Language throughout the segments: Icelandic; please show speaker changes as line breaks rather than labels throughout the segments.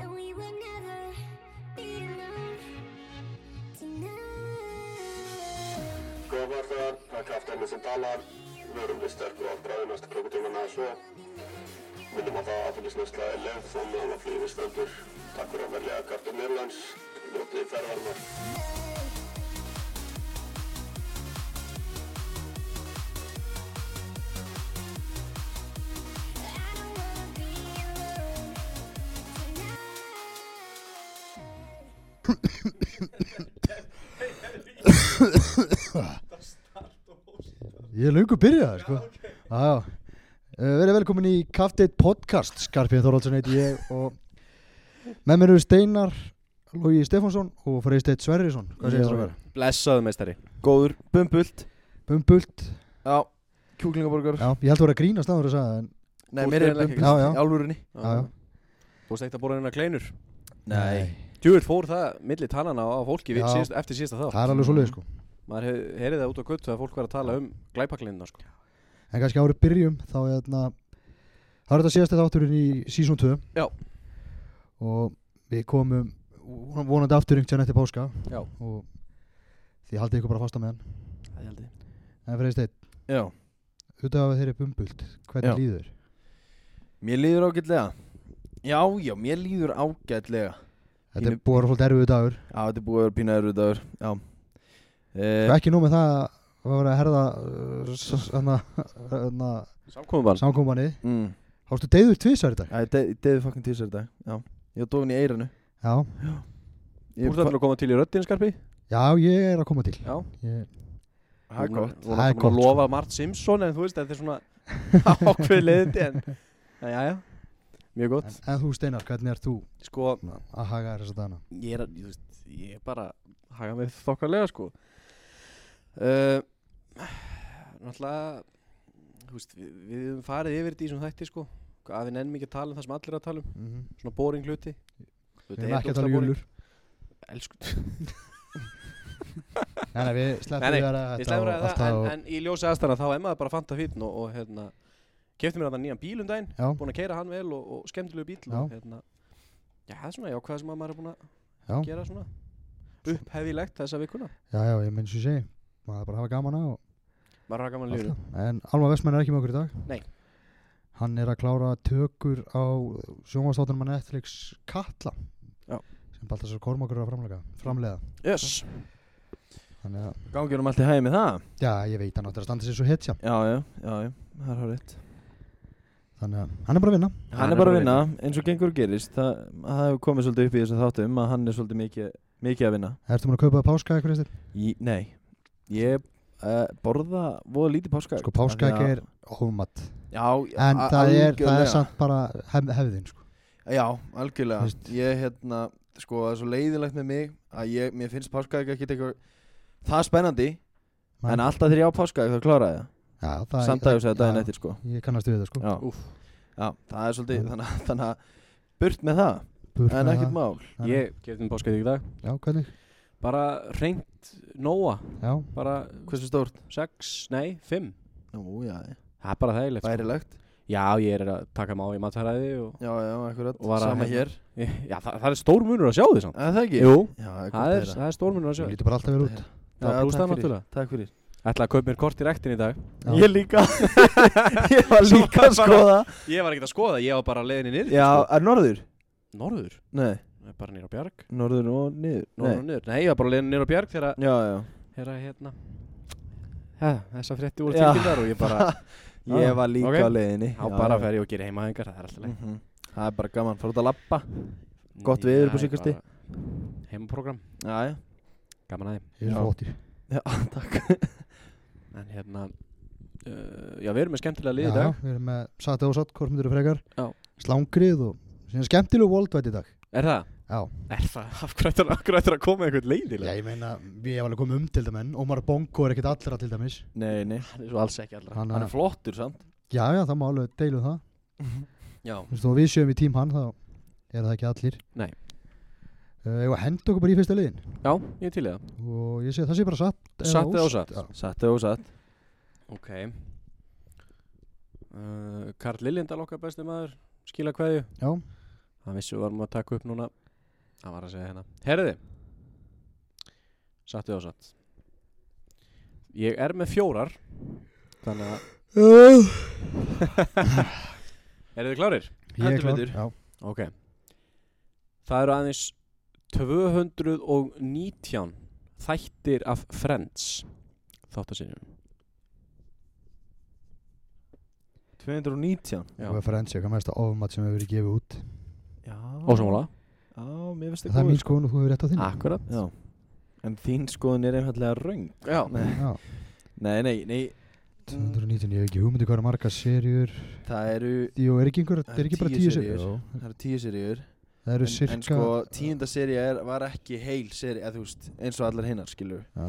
And we will never be alone tonight.
Góðar það, það er kraftaðinu sem talar. Vörum við sterkur á bræðinast klukkutíman að svo. Minnum á það að aðfélagsnæsla er leið þó meðan að flýði stendur. Takk fyrir að velja Gartur Nýrlands. Njótið ferðarnar.
I don't wanna be alone tonight.
Ég er löngu byrjaði, sko.
ok.
Já, já. Uh, verið velkomin í Kaftið podcast, Skarpið Þorvaldsson heiti ég og með mér eru Steinar, Lógi Stefánsson og Freysteinn Sverrisson. Hvað segir
Já.
það að vera?
Blessaðu meistari Góður bumbult
Bumbult.
Já Kjúklingaborgar
Já, ég held að vera að grínast áður að sagða en
Nei, mér er bumbult
Já, já.
Í alvörunni
já, já.
Þú veist ekkert hérna að bóra hennar kleinur
Nei
Djúvel fór það milli tannana á fólki við
Já.
síðast, eftir síðasta þá
Það er alveg svo leið, sko.
Maður hef- heyrði það út á göttu að fólk var að tala um glæpaklinna sko.
En kannski árið byrjum, þá er þarna, þá er þetta síðasti þátturinn í season 2.
Já.
Og við komum von- vonandi aftur yngt sér eftir páska
Já.
og því haldið ykkur bara fasta með hann.
Það held ég
En Freysteinn,
Já
út af að þeirri bumbult,
Já.
hvernig líður?
Mér líður ágætlega Já, já, mér líður ágætlega
Þetta er
Pínu-
búið að vera svolítið erfiðu dagur
Já, þetta er búið að vera pínaður út dagur Já
e
eh,
Ekki nú með það að það var að herða uh,
Samkomum bara
samkómanni
mm,
Hástu deyður tvisar í dag
Já, ég de- deyði fucking tísar í dag Já Ég var dofin í eiranu
Já,
Þú ert alveg að koma til í röddinn skarpi
já ég er að koma til
Já.
ég,
Það er gott
Þú
Það er
erum að
gott, sko.
lofa Mart Simpson en þú veist þetta er svona ákveð leiðindi en en Jæja, mjög
en,
gott
en þú Steinar, hvernig ert þú
Sko,
að haga þér þessa dagana?
ég er, að- þú veist, ég er bara að haga mig þokkarlega sko uh, náttúrulega þú veist, við, við höfum farið yfir þetta í þessum þætti sko að við nennum ekki að tala um það sem allir eru að tala um
Mm -hmm.
svona boring hluti
Við erum ekki að tala um júlur
elsku,
Nei, nei, við
Nei,
sleppum
nei,
við að ræða
ég
þetta
slæmur
og
að
allt
það
það
en,
og-
en í ljósi aðstæðan þá er maður bara fanta fýtn og, og hérna kefti mér þetta nýjan bíl um daginn
Já,
búin að keira hann vel og, og skemmtilegu bíl
Já.
og hérna já, það er svona jákvæð sem að maður er búin að
já,
gera svona upphefilegt þessa vikuna
já, já, ég menn sem ég segi maður þarf bara að hafa gaman að og
maður er að gaman
allt
lífið
það En Alma Vestmann er ekki með okkur í dag
Nei.
Hann er að klára tökur á sjónvastáttunum að Netflix Katla
Já.
sem Baltasar Kormakur er að framlega, framlega.
yes.
Þannig að,
Gangi um allt í hæmi það
já, ég veit hann áttur að standa sér svo hetja
Já, já, já, já Það er hárið
Þannig að hann er bara að vinna
hann er bara að vinna, eins og gengur og gerist það, það hefur komið svolítið upp í þessu þáttum að hann er svolítið mikið, mikið að vinna
Ertu múin að kaupa páska eitthvað eftir?
Í, nei, ég uh, borða voða lítið páskaegg
Sko páska
Af því að-
er ómat
já,
En það
a-
er, það
algjörlega.
er samt bara hef, hefðin sko.
já, algjörlega,
Veist.
ég hérna sko, það er svo leiðilegt með mig að ég, mér finnst páskaegg ekki eitthvað það spennandi,
Nei.
en alltaf þegar ég á páskaegg þá kláraði ég
Já,
það
það
samdægum segja daginn
já.
eftir sko
Ég kannast við þetta sko
já. já, það er svolítið, þannig að- þannig að burt með það,
Burt
en
með
ekkert
það.
mál
Þannig-
ég kefti mér páskaði í dag
Já, hvernig?
bara reynt nóa
Já,
bara
hversu stórt?
6, nei, 5
Nú, já,
það er bara þægilegt sko.
værilegt
já, ég er að taka mig á í mataræði og
já, já, akkurat,
Og var að
sama
hérna-
hér
já, það, það er stór munur að sjá því samt
Er það ekki?
Jú,
Já, það er
það
gott að
er,
heyra.
það er stór munur að sjá
þú
því
lítur bara alltaf vel út
það er
Já,
plús
takk
það
fyrir,
náttúrulega.
Takk fyrir
ætla að kaupa mér kort í rektin í dag
Já.
Ég líka Ég var líka að skoða
ég var ekkert að skoða, ég var bara leiðinni niður
Já, er norður?
sko. norður,
Nei,
Ég er bara nýra bjarg
norður og niður
norður og niður, nei, ég var bara leiðinni nýra bjarg þegar að-
Já, já
þegar að, hérna Hæ, þessa frétti voru
Já.
tilkynntar og ég bara
Ég var líka
ok.
Ah, á leiðinni
þá bara fer ég og gerir heimahengar, það er alltaf leið
-hmm. Það er bara gaman, fór út að lappa Gott veður upp á síðkastið.
heimaprogram,
Já, já
gaman að því
Ég er
Já.
flottir
Já, takk
En hérna uh, Já, við erum með skemmtilega lið í
Já,
dag
við erum með Sata og Satt, hvort myndir þú frekar
Já.
Slangrið og síðan skemmtilegu Worldwide í dag
Er það?
Já,
Er það? Af hverju ættir- af hverju ættir að koma eitthvað
já
leiðilega?
ég meina, við hefum alveg komið um til dæmis Omar Bongo er ekkert allra til dæmis
Nei, nei
Hann er svo alls ekki allra
Hann,
Hann er flottur samt
Já, já, það má alveg deilu um það
Já,
Þú veist, og við séum í tím hann, þá er það ekki allir
Nei.
Uh, og henda okkur bara í fyrsta liðin
já, ég er til í það
og ég segi það sé bara satt
Satt eða
ósatt.
ósatt?
Já.
Satt eða ósatt
Ok uh, Karl Liljendal okkar besti maður skila kveðju
Já,
hann vissi við varum að taka upp núna hann var að segja hérna herriði sattu á satt ég er með fjórar þannig að eru þið klárir?
ég er
Heldur
klár
betur.
Já,
ok það eru aðeins 219 þættir af Friends þáttasinnum
219
Já.
og Friends er hvað mesta ofumat sem hefur verið gefið út
Já
ósamála
Já, mér finnst
Það er mín
sko.
skoðun og þú hefur rétt á þinn
akkurat
Já En þín skoðun er einfallega röng
já,
Nei,
Já,
nei, nei, nei
219, ég hef ekki um hugmyndi hvað eru margar serjur
Það eru
Jú, er ekki einhver, er ekki bara tíu serjur
Jó, Það eru tíu serjur
Það eru
en,
cirka
en sko tíunda serja er, var ekki heil serja þú veist, eins og allar hinnar skilur
Já.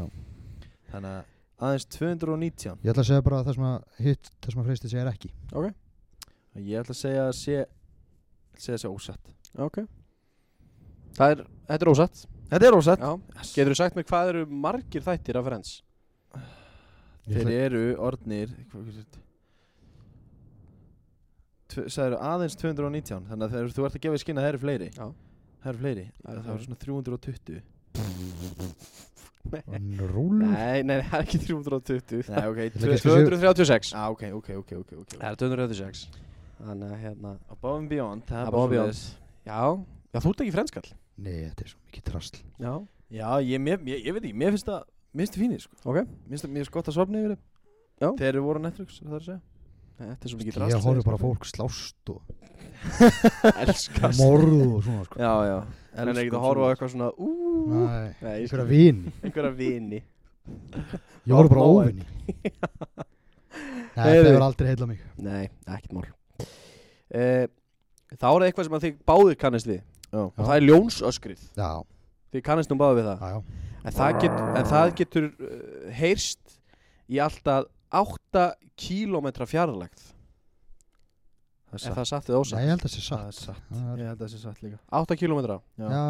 Þannig að aðeins 219
Ég ætla að segja bara það sem að hitt, það sem að freystið segir ekki
og Ég ætla að segja að sé segja að sé ósatt
það er, þetta er ósatt
Þetta er ósatt
já. getur þú sagt mér hvað eru margir þættir af Friends?
Ég
Þeir
ætla-
eru orðnir hvað- hvað- hvað- tve- Það eru aðeins 219 Þannig að þegar þú ert að gefa í skinn að það eru fleiri
Já.
Það eru fleiri
Það eru
Það eru svona 320
En rúllur
nei, nei, það er ekki 320
Nei, ok,
ætla
tvö-
ekki að segja-
236
Á, Ah, ok, ok, ok, ok, ok
það er 236 þannig að hérna
Above and Beyond Það er
Above
bara
and Beyond.
svoleiðis.
já, já þú ert ekki frenskall
Nei, þetta er svo mikið trasl
já,
Já, ég, mér, mér, ég veit ekki, mér finnst það Mér finnst það fínir, sko
ok
Mér finnst það, mér finnst gott að svapna yfir þeim
Já.
Þegar þau voru á Netflix, það er að segja
þetta er svo mikið
Ég horfði bara á fólk slást og
elskast
morð og svona sko
Já, já
en er ekkert að horfa á eitthvað svona úúú
Nei,
nei, ég
einhverja
skil-
vini
einhverja vini
Ég voru bara
Ormóa.
óvinni Nei, það
Heyrðu.
hefur aldrei heila mig
nei, ekkert mál uh, þá er eitthvað sem að þið báðir kannast við
Já.
og það er ljónsöskrið
Já,
þið kannast nú báðir við það
já, já
En það, get, en það getur uh, heyrst í alltaf 8 kílómetra fjarlægt
Það er
Er
satt,
það satt
Nei,
eða
ég
ósatt?
held að það sé
það
satt
er satt
Það er-
Ég held að það sé satt líka
8 kílómetra
Já,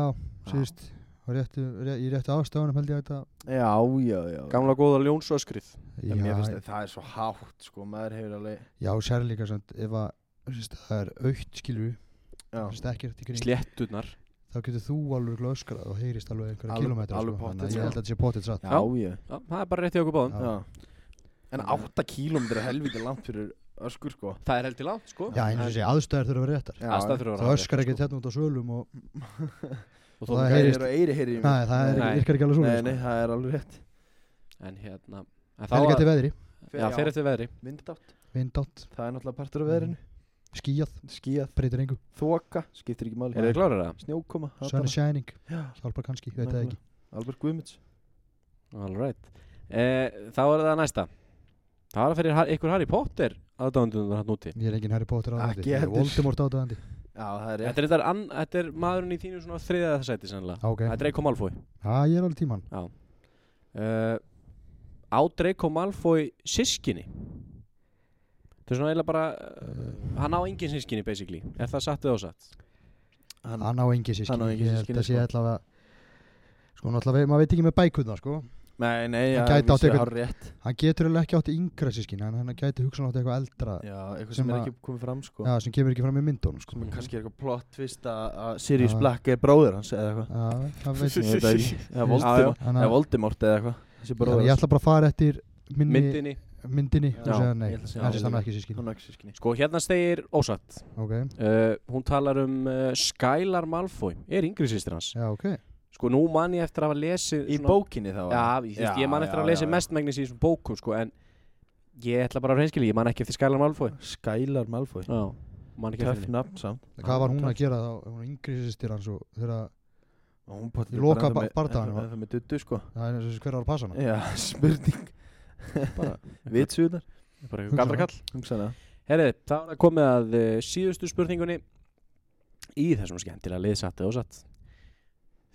síðust og réttu, ré, í réttu ástafunum held ég að þetta
Já, já, já
Gamla góða ljónsöskrið
En mér finnst
Já,
að það er svo hátt, sko Maður hefur alveg
já sérleika samt ef að síst, það er aukt skilur við
Já,
finnst ekki rétt í kring
Slétturnar
þá getur þú alveg örugglega öskrað og heyrist alveg einhverja
Alveg-
kilometra
alveg
sko, þannig
pottþétt,
að ég
sko.
held að þetta sé potið satt
já, já
Já, Það er bara rétt í okkur báðum
Já.
Já En 8 kílómetri er helviti langt fyrir öskur, sko
Það er heldur langt sko
Já, eins og sé, aðstæður þurfa að vera réttar
Aðstæður þurfa að
Það
vera
öskar
réttar,
ekki
sko.
þetta hérna út á sölum og
Og
það
þó-
Það
heyrist-
er sko. að eiri heyri í mér
Nei, það er,
Nei.
virkar ekki alveg svona
Nei, nei, það er alveg rétt
En hérna En þá
Það er ekki
að
eftir veðri,
Já, fer eftir veðri
Vindátt
vindátt,
Það er náttúrulega partur af veðrinu
skíjað,
Skíða,
breytir engu
þoka, skiptir ekki máli
Er þið klárir það?
Snjókoma
Sun is shining,
Já.
hjálpar kannski, ég veit það ekki
Albert Guðmunds
All right eh, Þá er það næsta Það er að fyrir har- ykkur Harry Potter aðdándunar hann úti
Ég er engin Harry Potter aðdæðandi,
Ekki
ég er
heldur.
Voldemort aðdæðandi
Já, það er
Þetta er, þetta, ann, þetta er maðurinn í þínu svona þriðja sæti sennilega
Ok,
Það er Draco Malfoy
já, ég er alveg tíman
uh, á Draco Malfoy sískinni það er svona eiginlega bara uh, hann á engin sískinni basically er það satt eða ósatt
Hann,
Hann á engi sískinni,
Hann á engin
ég held
systkini,
að sé
sko.
allavega Sko, náttúrulega, maður veit ekki með bækuna, sko
nei, nei,
Hann
já,
gæti
vissi
átt einhvern-
hár rétt
Hann getur alveg ekki átt yngra sískinni, en hann gæti hugsan átt eitthvað eldra
Já, eitthvað
Sem
sem er
að-
ekki komið fram, sko
Já, sem kemur ekki fram í myndunum, sko
Sem er kannski eitthvað plott tvist að að Sirius
Já.
Black er bróður hans eða eitthvað
Já, það veit
Ég veit það ekki. Eða
Já, já.
Voldemort
Þannig að-
Eða Voldemort eða eitthvað Þessi
þannig að
bróður
ég ætla bara að fara eftir minni,
myndinni
myndinni
Já,
og segja nei,
ég ætla að segja
það sést
já.
hann ekki sískinni
Hann á ekki sískinni
sko hérna stegir ósatt
Ok,
uh, hún talar um uh, Skylar Malfoy er yngri sýstir hans
já, ok
sko nú man ég eftir að hafa lesið
Í bókinni þá
já, ég, já, ég man eftir að hafa lesið mestmægnis í þessum bókum sko en ég ætla bara að reynskili ég man ekki eftir Skylar Malfoy
Skylar Malfoy
já man ekki eftir
Töff
henni
nafn samt
Hvað var hún að gera þá, hún var yngri sýstir hans og þegar
Og hún pottþétt
Í
bara
loka
ennþá
ba-
með-
bardaganum,
ennþá-
va?
ennþá með duttu sko
það er eins og þessi hver var að passa hana
Já, spurning
Bara-
Vitsuðunar
bara
Hugsa
galdra
það.
kall
Hugsaðna
Herrið, þá er að komið að uh, síðustu spurningunni í þessum skemmtilega liðsatti og satt.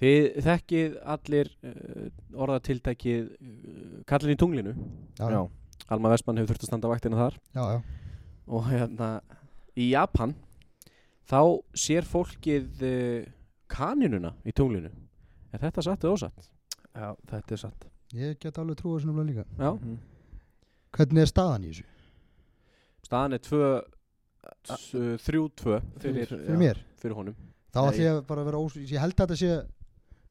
Þið þekkið allir uh, orðatiltækið uh, kallin í tunglinu.
Já, já,
Alma Vestmann hefur þurft að standa vaktina þar.
já, já.
Og hérna, í Japan, þá sér fólkið uh, kaninuna í tunglinu. Er þetta satt eða ósatt?
Já, þetta er satt
Ég get alveg trúið þessu nefnilega líka
Já,
Mhm.
Hvernig er staðan í þessu?
staðan er 3-2 fyrir,
fyrir mér
fyrir honum
þá ætla
Nei.
ég bara að vera ós ég held að þetta sé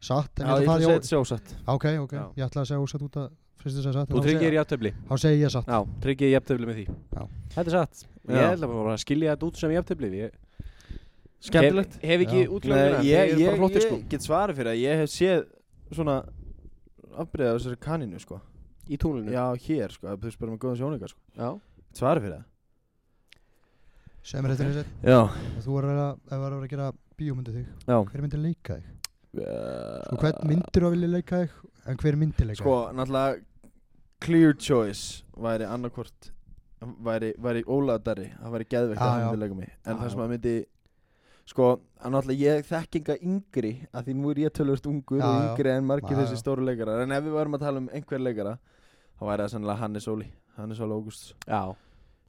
satt en
Já,
ég
ég
ætla að
ætla
fara
að
í
segja sjósatt
ó ok, ok,
Já.
ég ætla að segja ósatt út að fyrst þess að satt en
og
þá
tryggir
segi-
jafntefli
þá segi ég satt
já, tryggir jafntefli með því
Já.
þetta er satt ég
Já.
ætla bara að skilja þetta út sem jafntefli ég
Skemmtilegt
hef, hef ekki
Já.
útlöfuna
ég,
þeir eru bara
ég,
flottir sko
ég get svarið fyrir að ég hef séð svona afbreiða af þessari kaninu sko
í túnlinu
Já, hér sko, þú spyrir með góðan sjóningar sko
Já.
Svarið fyrir það
sem er þetta okay.
Já,
þú er að, ef þú er að gera bíómyndið þig
já
hver myndir leika þig og hvern myndir að vilja leika þig en hver myndir leika
Sko, náttúrulega Clear choice væri annarkvort væri, væri ólaðari það væri geðveikt
Já,
að
Ah, já.
hann vil leika mig en
Já,
það
já.
sem að myndi sko, að náttúrulega ég þekkinga yngri að því nú er ég tölvöld ungur
Já,
og
já.
yngri en margir
Já,
þessi
já.
stóru leikarar en ef við varum að tala um einhver leikara þá væri það sannlega Hannes Óli Hannes Óli Ógústs
Já.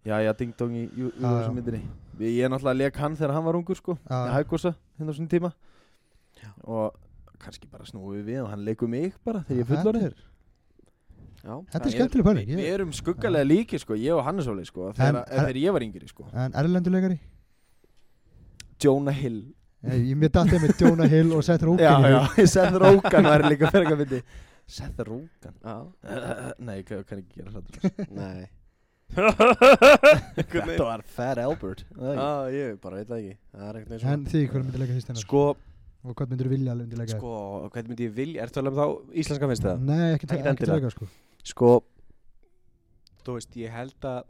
já, já, Ding Dong í
Ah, já. Ah.
Júruvísum myndinni ég, ég náttúrulega leik hann þegar hann var ungur sko
Já,
í
já.
Hægósa hérna á svona tíma og kannski bara snúið við og hann leikur mig bara þegar ég er
Þetta
fullorðin
er-
Já.
Þetta
Það
er skemmtileg pæling
Við
ég-
erum skuggalega líki sko, ég og Hannes Óli sko, þegar,
En-
en, þegar ég var yngri sko.
en erlenduleikari
Jonah Hill
ég mér dætti með Jonah Hill og Seth Rogen í hug.
Seth Rogen var líka fyrir að fyndi Seth Rogen
Já.
Nei, ég kann kann ekki gera hlátur
Nei
Þetta var Fat Albert það er ekki.
Já, ég bara veit það ekki Það er ekkert neins
en þig hver myndir leika því
svona.
stennar
Sko,
og hvern myndir vilja myndir leika þig
sko, hvernig myndi ég vilja Ertu alveg um þá íslenska finnst það?
nei, ekki
Ekkert
til ekki til
endilega.
leika sko
Sko Þú veist, ég held að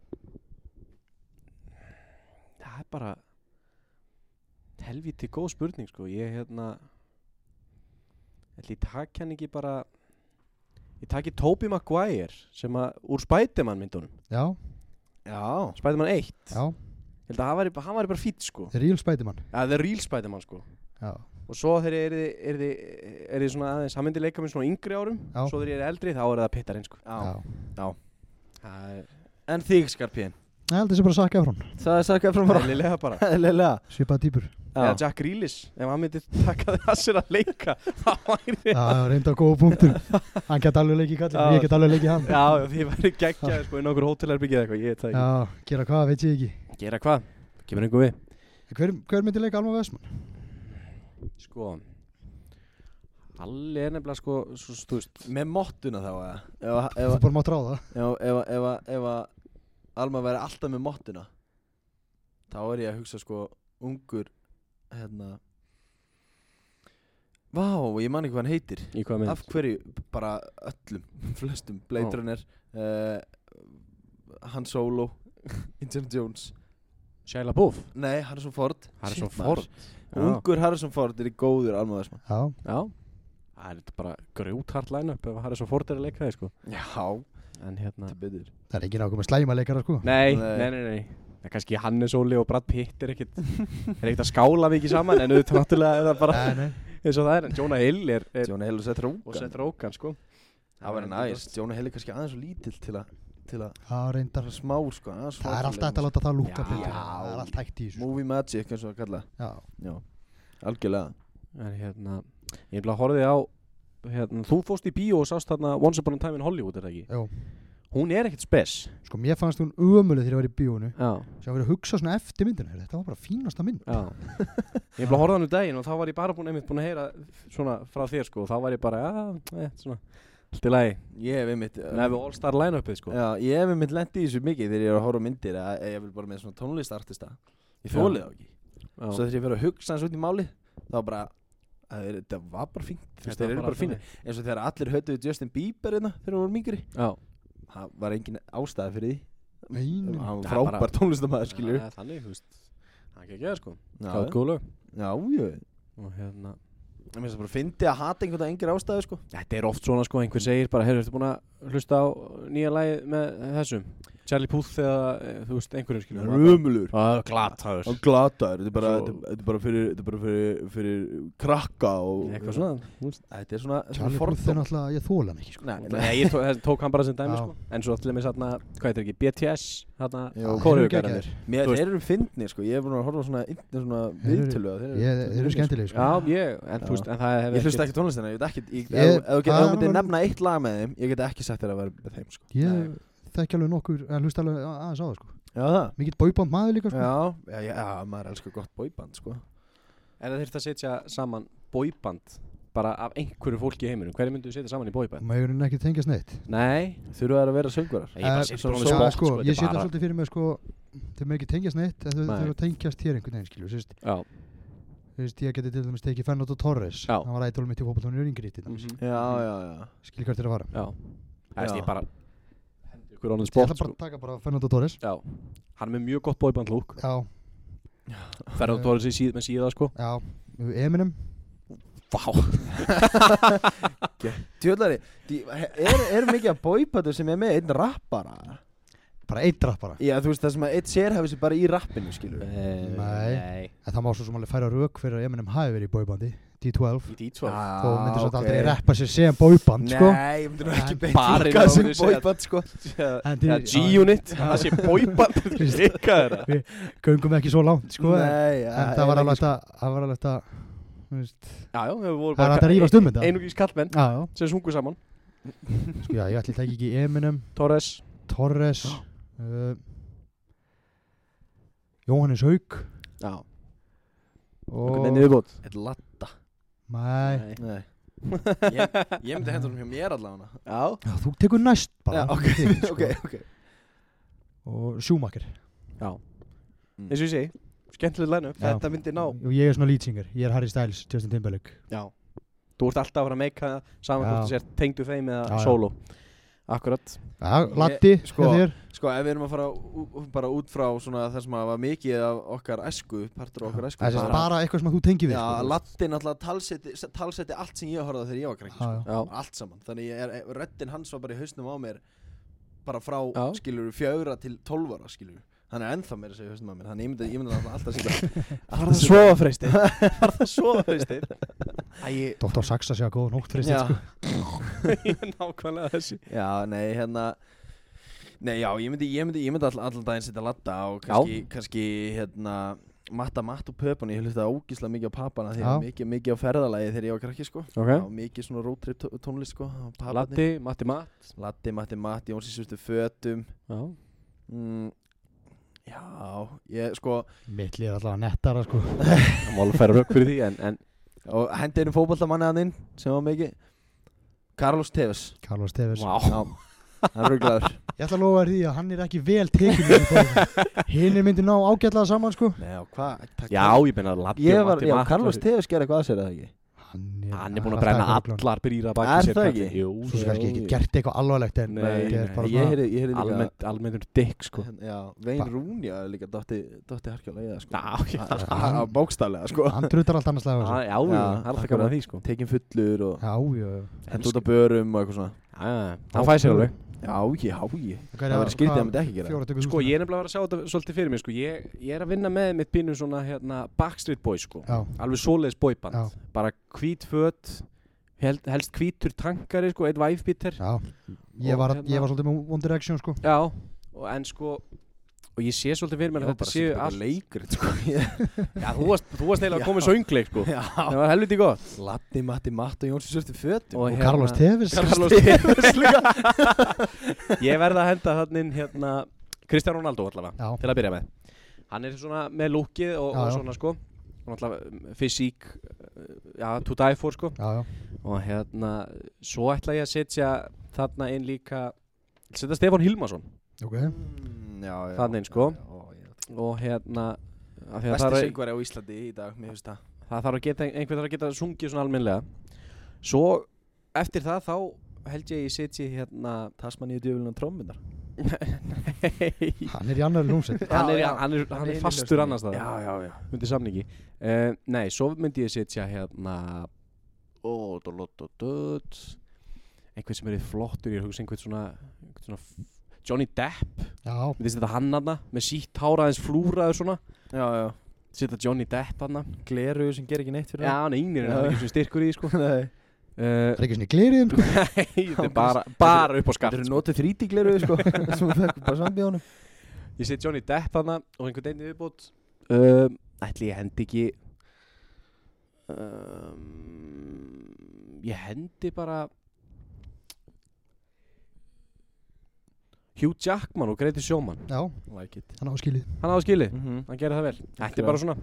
Það er bara Helviti góð spurning, sko Ég hérna Ætli ég takk hann ekki bara Ég takki Tobey Maguire sem að, úr Spiderman myndunum
já,
Já
Spiderman 1
já
Ég held að hann væri, bara- hann væri bara fýtt, sko
Real Spiderman
Ja, The Real Spiderman, sko
já,
og svo þegar ég erði, erði, erði svona aðeins, hann myndi leika mér svona á yngri árum
Já.
svo þegar ég er eldri þá er það pittar eins sko.
já.
það er
En þig Skarpín
Nei, heldur þessi bara að sakka frá hann
Það er sakkað frá mér
eðlilega bara
Leila
svipaða týpur
eða Jack Reelis, ef hann myndi taka það sér að leika þá væri
já, reynda góða punktur hann gett alveg leikið kallin,
Já.
ég gett alveg leikið hann
já, því væri geggjað sko, í nokkur hótelarbyggið eitthvað, ég veit það
já, gera hvað, veit ég ekki
ekki gera hvað, kemur einhver við
hver, hver myndir leika Alma Vestmann?
sko Alli er nefnilega sko, svo stúst
Með mottuna þá eða? Ef að- ef
þú
að-
bara mátt ráða
ef- ef að- ef að- Ef að Alma væri alltaf með mottuna Þá er ég að hugsa sko Ungur Hérna Vá, ég man ekki hvað hann heitir
í hvað mynd
af hverju bara öllum flestum Blade
Já.
Runner uh, Han Solo Indiana Jones
Shia LaBeouf,
nei Harrison Ford
Harrison
Shit, maður.
Ford já.
ungur Harrison Ford er í sko. góður almaðismann
já,
já, það er bara grjóthart line-up ef Harrison Ford er að leika það sko
já
en hérna
til betur
það er ekki nákvæmlega slæma leikara sko
Nei,
Nei.
nei, nei, nei. Það er kannski Hannes Óli og Brad Pitt er ekkit, er ekkit að skála mikið saman en auðvitað náttúrulega er það bara
nei, nei
eins og það er en Jonah Hill er, er
Jonah Hill og Seth
og Seth
Rogen
Rogen sko
það væri næst Jonah Hill er kannski aðeins og lítill til að til að
já, reyndar
bara smá sko aðeins
það er alltaf hægt að láta það lúka
Já.
betur það er alltaf hægt í þessu sko.
movie magic eins og það kalla
já,
já algjörlega
En hérna, ég bara horfið á hérna, þú fórst í bíó og sást þarna Once Upon a Time in Hollywood er það ekki
já
Hún er ekkit spes
sko, mér fannst hún umulig þegar ég var í bíónu
Já,
sem var að hugsa svona eftir myndina heyrðu, þetta var bara fínasta mynd
já Ég bara horfið hann um daginn og þá var ég bara búin, einmitt búin að heyra svona frá þér sko og þá var ég bara, já, ja, svona Allt í lagi,
ég hef einmitt eh,
en ef við all star line-upið sko
Já, ég hef einmitt lent í þessu mikið þegar ég er að horfa á myndir að að ég vil bara með svona tónlistartista Ég
Já.
þólið á ekki
Já.
Svo þegar ég fyrir að hugsa hans út í máli þá bara, að þeir, þetta var bara fínt Þú veist,
Þetta
þeir
var
eru bara
allt
fínir Eins og þegar allir höfðu Justin Bieber hérna þegar við vorum yngri
þannig. Já.
Það var engin ástæða fyrir
Nei,
því Hann var
Það er bara-
frábær tónlistamæður skilur
Já, það er þannig, þú veist Það er ekki að gera sko
Já,
Það er góð lög
já, já
Og hérna
Ég minnst að bara fyndi að hata einhvern veginn engin ástæðu sko
Þetta er oft svona sko Einhver segir bara Herru, ertu búin að hlusta á nýja lagi með þessum Charlie Puth eða eh, þú veist einhverjum skilur
Römulur
Og glataður
Og glataður, þetta er bara,
Svo-
þetta er- þetta er bara, fyrir, þetta er bara fyrir, fyrir krakka og
Eitthvað svona þú veist.
Þetta er svona,
Charlie Puth er náttúrulega, ég þóla hann ekki sko.
Nei, nei,
Nei, ég tó- þess- tók hann bara sem dæmi
Já.
sko En svo allir með þarna Hvað heitir ekki BTS Þarna
Já.
Þeir eru
Kóruðugarannir
Mér,
Þú
þeir eru fyndni sko, ég hef búin að horfa á svona, inn- svona
Þeir eru-
viðtölu að
Ég- þeir eru skemmtilegir sko.
Já, ég En þú veist En það hefur
Ég hlusta ekki tónlistina, ég veit ekki ég,
Ég- Ah.
Ef ef þú
það
getur
er
myndið
alveg-
nefna eitt lag með þeim, ég get ekki sagt þér að vera með þeim sko.
Ég þekki alveg nokkur, en hlusta alveg a- aðeins á það sko
Já, það
mikill bóiband maður líka sko.
Já, já, já, maður elskar gott bóiband, sko
En það þurft að setja saman bóiband bara af einhverju fólki í heiminum Hverju myndu setja saman í bóiband?
maður er ekki að tengja sneitt
Nei,
Þurfa þær að vera söngvarar?
ég bara
Eh,
setja
svo-
svona
svo-
spott
sko,
þetta
ég
er
sé það
bara-
svolítið fyrir mig sko, þau með ekki tengjast neitt en þau
Nei.
þurfa að tengjast hér einhvern veginn skilur sérst,
Já,
þú veist, ég geti til dæmis tekið Fernando Torres,
Já.
hann var ætlum mitt í fókbaltónu yringri til dæmis,
Mhm.
Já, já, já
skilur hvert er að fara
já Það veist
Já.
ég bara hendi ykkur ánum
ég
spott
ætla bara
sko.
að taka bara Fernando Torres
Já, hann er með mjög gott bóiband lúk
já,
Ferðan Tóra sér síð með síða sko
já, Eminem
Vá
Tjóðlari, er, er mikið að bóibandu sem er með einn rappara?
bara eitt drapp bara,
Já, þú veist, það sem að einn sér hefur sér bara í rappinu, skilur við
Eh,
Nei. en það má svo sem alveg færa rauk fyrir að Eminem hafi verið í bóibandi D12,
Í D12
þó myndir svo aldrei reppa sér sem bóiband sko
Sko. Ah, Nei, ég myndi nú ekki
En
beint
barinn
líka
á
sem
þessu að-
bóiband, sko
En til-
Já, G-Unit, það sé bóiband Rikkaður það
göngum ekki svo langt sko en,
Nei, já,
en það sko. var
er
alveg
ekki-
þetta það var alveg þetta þú veist,
Já, já, við vorum
það er hægt að rífast um þetta já,
Einugis kallmenn
já,
sem sungu saman
sko, já, ég ætli að tekja ekki Eminem
Torres
Torres uh, Jóhannes Haug
Já
og
viðbót
Þetta er latta
Nei,
Nei Ég, ég myndi hendur hún hjá mér allavega Já,
já, þú tekur næst bara
já ok,
Þig,
ok, ok
og sjúmakir
Já Eins og ég segi Skemmtileg lænu
Já. Mm.
Þetta myndi ná
og ég er svona lýtsingar, ég er Harry Styles, Justin Timberlake
Já Þú ert alltaf að vera að meika það Saman
Já.
hvort þú sér tengdu þeim
Já,
eða
já.
solo Akkurat
ja,
Ég-
Latti,
sko,
sko, þér
Sko, ef við erum að fara ú, bara út frá svona það sem að var mikið af okkar æsku, partur af okkar æsku
það er
sko. bara-
bara, bara eitthvað sem að þú tengir við
Já,
sko,
Latti náttúrulega talsetti, talsetti allt sem ég horfði á þegar ég var krakki
Já, já.
sko.
Já
Allt saman, þannig ég er, eh, röddin hans var bara í hausnum á mér bara frá,
Já.
skilur, fjögra til tólvara, skilur Hann er ennþá meira að segja í hausnum á mér, þannig ég myndi, ég myndi náttúrulega alltaf setja
Var það svo freystir Var það svo freystir
Æ,
Dr. Saxa sé að góða nótt fyrir þetta
já,
sko.
Nákvæmlega þessi
já, nei, hérna Nei, já, ég myndi, ég myndi, ég myndi all, allan daginn setja latta og kannski, kannski hérna, matta matt og pöpun Ég hlustaði ógíslega mikið á papana þegar
Já.
mikið, mikið á ferðalagi þegar ég var krakki, sko
Ok
Og mikið svona roadtrip tó- tónlist, sko á paparnir.
Latti, Matti Matt
Latti, Matti, Matti, Jóns í svörstu fötum
Já
mm, Já, ég sko
Mittli er allavega nettara sko.
Það má alveg færa rauk fyrir því en, en
Og hendi einu fótballtamanni hann inn sem var mikið Carlos Tevez
Carlos Tevez
Já, hann rugglaður
Ég ætla að lofa þér því að hann er ekki vel hérna tekinn Hinn er myndið ná ágætlega saman sko.
Nei, og hvað? takk-
Já, ég meina Latti
Ég
og
var,
Matti
já,
Matt
Carlos Tevez gerði eitthvað að sér eða ekki
Hann er,
Hann er búin
hann
að brenna
alltaf eitthvað
allar brýra
Er
baki sér
það
kalli.
ekki?
Jú,
Svo sem
jú,
kannski ekki
jú.
gert eitthvað alvarlegt en
Nei,
þetta er
nei.
bara
Ég
svona-
heyrði, ég heyrði líka hérna,
Almennt, almennur dikk sko
Já, Vein
Ba-
Rúni er líka dotti, dotti harkjála í það sko
Já, já, já,
Á bókstálega sko
Hann drutar allt annars lag á þessu.
já, já,
Já,
það er alltaf
akkurat.
gaman að því sko
Tekin fullur og
Já, já, já
hendur út á börum og eitthvað svona
Já, já, Það fæ sér alveg
Já, ég, já, ég
Hvað er
Það verður skrítið að hann myndi ekki gera
Fjóra tökur
Sko, ég er nefnilega að vera að sjá þetta svolítið fyrir mér sko Ég, ég er að vinna með mitt pínu svona hérna Backstreet Boys sko
Já,
Alveg svoleiðis boyband
Já.
Bara hvít föt hel, Helst hvítur tankari sko, einn væfbíter
já Ég
Og
var,
hérna-
ég var svolítið með One Direction sko
Já, og en sko Og ég sé svolítið fyrir mér að þetta séu allt
leikrit sko Já,
Já, þú varst, þú varst eiginlega að koma
Já.
með söngleik sko Það var helviti gott
Latti, Matti, Matt og Jónsi Svörstu Fötum
Og Carlos Tevez
hérna- Carlos Tevez líka Ég verða að henda þannig inn hérna Kristján Ronaldo allavega
Já.
til að byrja með Hann er svona með lúkið og,
Já,
og
já.
svona sko og allavega fysík já, uh, to die for sko
Já, já
og hérna, svo ætla ég að setja þarna inn líka setja Stefán Hilmarsson
Ok
Mm, já, já,
Þarna inn, sko.
já, já, já.
og hérna af því að
Besti
það, er,
söngvari á Íslandi í dag, mér finnst það
það þarf að geta einhver þarf að geta sungið svona almennlega svo eftir það þá held ég ég setji hérna
Tasmaníu djöfulinn og trómminar
nei
Hann er í annar lúmsett
hann er,
Já, já.
hann er, hann er
Hinni
fastur
lausninni.
annars það
Já, já, já
undir samningi uh, nei, svo myndi ég setja hérna ó, dó, dó, dó, dó, einhvern sem er flottur ég hugsa einhvern svona, einhvern svona f- Johnny Depp,
Já,
myndi setja hann aðna með sítt hára aðeins flúraður svona
Já, já
setja Johnny Depp aðna
Gleru sem ger ekki neitt fyrir
já, hann er yngir en
Já.
hann er ekki svona styrkur í því, sko
það Nei
það
uh,
er ekki svona í gleriðum sko
nei, þetta er bara, bara upp á
Þetta
skatt
eru notið þríti gleru, sko Sem við fekkum bara samt í honum
ég set Johnny Depp hana og einhvern veginn viðbútt um, ætli ég hendi ekki um, ég hendi bara Hugh Jackman og Greti Sjóman
Já,
Like it
hann á skilið
Hann hafa skilið,
mm -hmm.
hann gerði það vel Þetta
Algjörlega.
er bara svona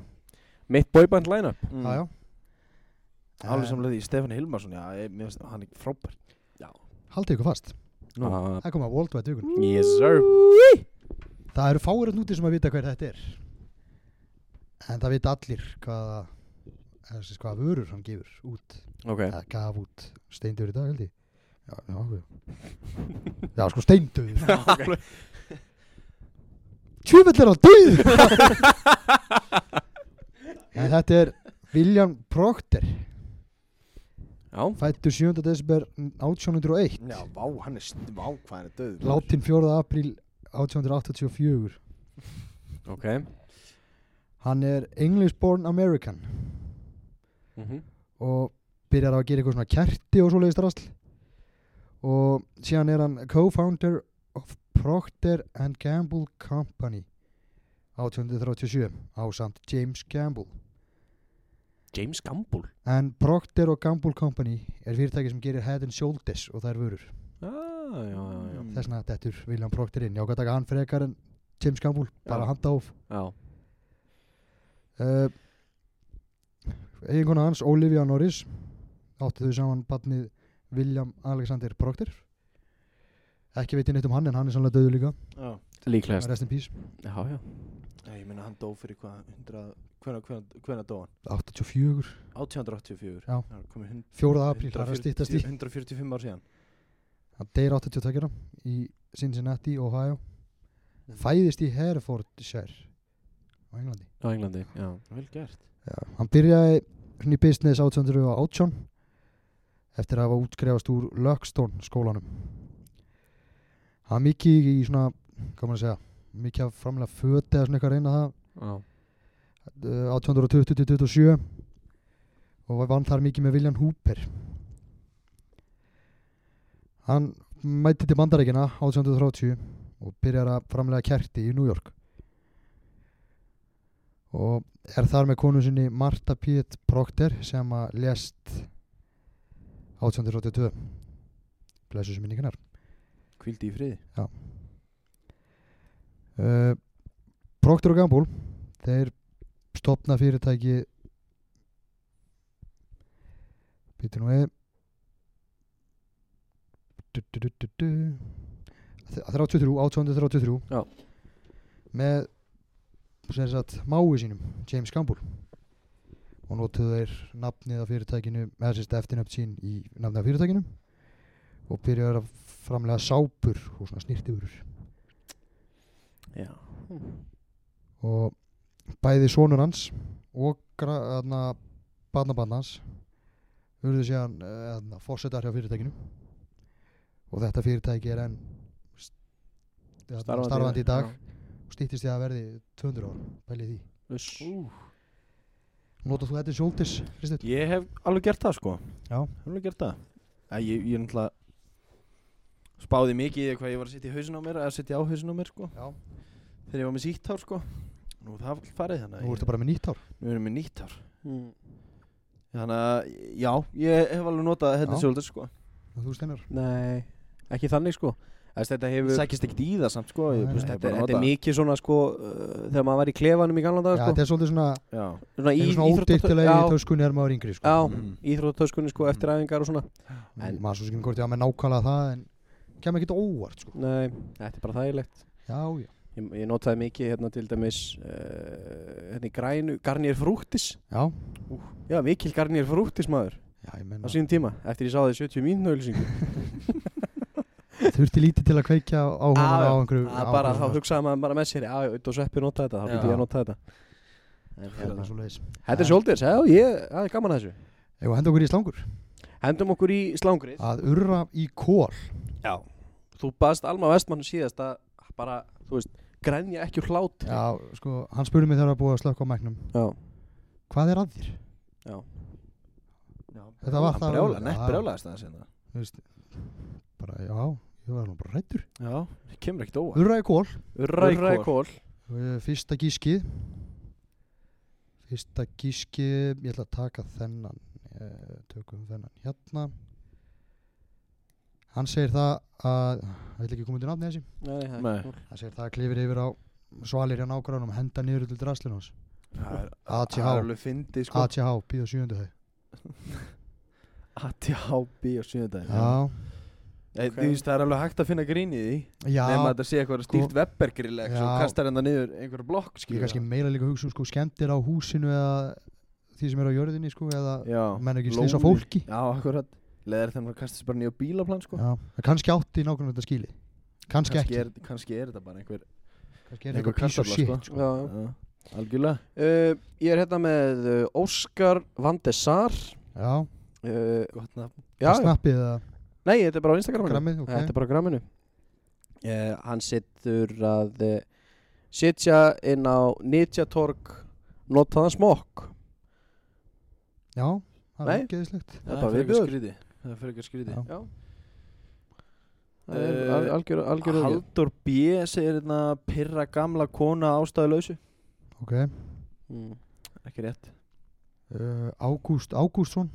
mitt boyband line-up
Já, já
mhm. Alveg
Eh,
samlega því Stefán Hilmarsson Já, ég, mér finnst hann er frábær
Haldið ykkur fast
Nú.
Ah,
Það kom að Worldwide vikunni
Yes sir
Það eru fáir að núti sem að vita hver þetta er En það vita allir hvaða eða sem sagt, hvaða vörur hann gefur út
Ok,
eða gaf út steindöður í dag held ég Já, já, já Já, sko steindöður
okay.
Tjöfell er hann döður En þetta er William Proctor
já
Fættu 7. desember 1801
Já, vá, hann er st- Vá, hvað hann er döð
Látin 4. apríl 1884
Ok
Hann er English born American
Mhm.
og byrjar á að gera eitthvað svona kerti og svoleiðist drasl og síðan er hann co-founder of Procter and Gamble Company 1837 á samt James Gamble
James Gamble
en Procter og Gamble Company er fyrirtæki sem gerir head and shoulders og það er vörur
ah, Já, já, já
þess vegna dettur William Procter inn já, hvað taka hann frekar en James Gamble bara
Já.
handa of
Já,
uh, eiginkona hans Olivia Norris áttu þau saman barnið William Alexander Proctor ekki veit ég neitt um hann en hann er sannlega döðu líka
Já
líklegast
rest in peace
Já, já
Nei, Ég meina hann dó fyrir hvað 100 Hvernig, hvernig, hvernig dó hann?
84,
1884
Já.
Það er komið hund-
4. apríl það er að stýttast í
140 145 ár síðan
hann deyr 82 ára í Cincinnati, Ohio fæðist í Herefordshire á Englandi
Á Englandi, já Vel gert
Já. hann byrjaði svona í business 1818 eftir að hafa útskrefast úr Luxton skólanum hann var mikið í svona hvað maður að segja, mikið að framlega föti eða svona eitthvað að reyna það
Já,
eh, 1820-27 og var- vann þar mikið með William Hooper hann mætti til bandarækina 1830 og byrjar að framlega kerti í New York og er þar með konu sinni Martha Piet Proctor sem að lést 1882 blessu sem minningarnar
Kvildi í friði
uh, Procter og Gamble þeir stopna fyrirtæki býtu nú við Du- du- du- du- du. Þe- 33, 1833
Já.
með sem sagt mái sínum James Gamble og notuðu þeir nafnið á fyrirtækinu eða sérst eftirnöfn sín í nafnið á fyrirtækinu og byrjaði að framlega sápur og svona snýrtiður
já.
og bæði sonur hans og barnabarn hans urðu síðan uh, fórsetar hjá fyrirtækinu og þetta fyrirtæki er enn st þarna
Starfandi í
starfandi í
dag,
dag og stýttist því að verði 200 ára bælið því
Uss.
Notar þú þetta sjóldis, Kristið?
Ég hef alveg gert það sko
Já.
Hef alveg gert það Æ, ég, ég er náttúrulega Spáði mikið í hvað ég var að setja í hausin á mér Að setja á hausin á mér sko
Já
Þegar ég var með sítt hár sko Nú er það farið þannig
Nú
að ég-
ertu bara með nýtt ár
Nú erum við nýtt hár
Mm,
Þannig að, já, ég hef alveg notað
Já.
hérna sjóldur sko
og þú steinar
Nei, ekki þannig sko Þess, Þetta hefur
Sækist ekkert í það samt sko
Nei,
ég,
nei.
þú veist,
Þetta, er-
bara
þetta er
notað.
mikið svona sko uh, Þegar maður var í klefanum í gamla
Já,
dag sko.
þetta er svolítið svona,
Já,
Svona í-
í, svona
íþrótta-
ódyrtilega í
Já,
töskunni er maður yngri sko.
já
Mm.
íþróttatöskunni sko Eftir æfingar og svona en-
maður svo skilur hvort ég á með nákvæmlega það en kemur ekkert á óvart sko.
Nei, þetta er bara þægilegt
já, já,
Ég, ég notaði mikið hérna til dæmis uh, Hérna í grænu Garnier Frúktis
já,
Já, Mikil Garnier Frúktis maður
já ég
Á
menna
sínum tíma Eftir ég sá það í 70 mínúna auðlýsingu
þurfti lítið til að kveikja á hún á einhverju á einhverju
Bara þá
svona,
hugsaði maður bara með sér Já, já, auðvitað og sveppi nota þetta Þá
Já.
getur ég að nota þetta En
sko,
hérna-
hérna svoleiðis.
Þetta er Shoulders, já, ég, það er gaman að þessu
Eigum við að henda okkur í slangur
Hendum okkur í slangrið
að urra í kól
Já Þú baðst Alma Vestmann síðast að bara, þú veist, grænja ekki úr hlátri
já, sko, hann spurði mig þegar að búið að slökka á mæknum
já,
hvað er að þér?
já.
þetta var það
Brjála, nett
Já,
brjálaðist hérna. það sinna
þú veist, bara, já, ég var nú bara rættur
Já, kemur ekkert óa
urra í kól,
Urrækól
kól
Eh, fyrsta gískið fyrsta gískið ég ætla að taka þennan eh, tökum þennan hérna Hann segir það að, hann vil ekki koma til nafni þessi,
Nei, það
Nei.
er ekki
hann segir það að klifir yfir á svalir hjá nágrannum, henda niður til draslinu hans.
Það er
ATH.
það er alveg fyndi sko
ATH, býða sjöndu þau.
ATH B á sunnudaginn
Já,
Nei,
Ok.
Þú veist það er alveg hægt að finna grín í því
já,
Nefn að þetta sé eitthvað
Sko-
stíft webbergrill eða eitthvað
Já.
og kastar hérna niður einhverja blokk
ég
skilur
kannski meila líka að hugsa um sko skemmtir á húsinu eða því sem er á jörðinni sko, eða
það. Já
menn ekki slýs á
Lónið.
fólki.
Já, akkurat Leðar þeim að kasta sér bara nýja bílaplan sko
Já, en kannski átti nákvæmlega þetta skili kannski,
kannski
ekki,
er, kannski er þetta bara einhver
kannski er eitthvað piece of shit
kastafla,
sko. Já, já.
Já, Algjörlega
Uh, ég er hérna með uh, Óskar Van de Sar
Já,
uh,
Gott nafn
já,
það snappið eða
Nei, þetta er bara á Instagraminu
grammið,
okay. Þetta
ok
er bara á gramminu uh, Hann setur að uh, sitja inn á Nitjatorg notaðan smokk
Já, það
Nei.
er geðislegt
Það er bara
frekar
viðbjóður.
skrýti. Það er fyrir skrýti
Já.
Já Það er
Eh,
uh, algjör, algjör ógeð.
Haldur B. segir hérna Pirra gamla kona ástæðulausu
Ok,
Mm.
Ekki rétt
uh, Ágúst Ágústsson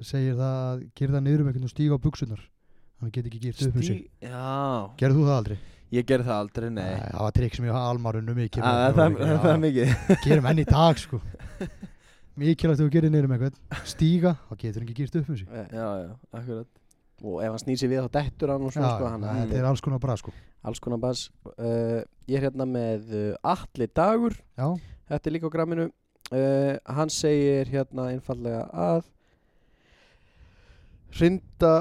segir það að gerða niður um einhvern og stíga á buksunar hann geti ekki gert upp um sig
Stíg- Já
Gerðu þú það aldrei?
Ég ger það aldrei, nei
það var trikk sem ég hafa almarunum mikið
Ah,
með
Það
þegar ég var líka,
það- það
já.
er mikið
Gerum enn í dag sko Mikilvægt að þú gerir niður um einhvern stíga, þá getur hann ekki gert upp um sig
Eh,
Já, já, akkurat
Og ef hann snýr sér við þá dettur hann og
Já,
svona sko, hann,
þetta er alls konar bra sko
alls konar bas uh, ég er hérna með uh, Atli Dagur
Já,
þetta er líka á gramminu uh, hann segir hérna einfallega að hrinda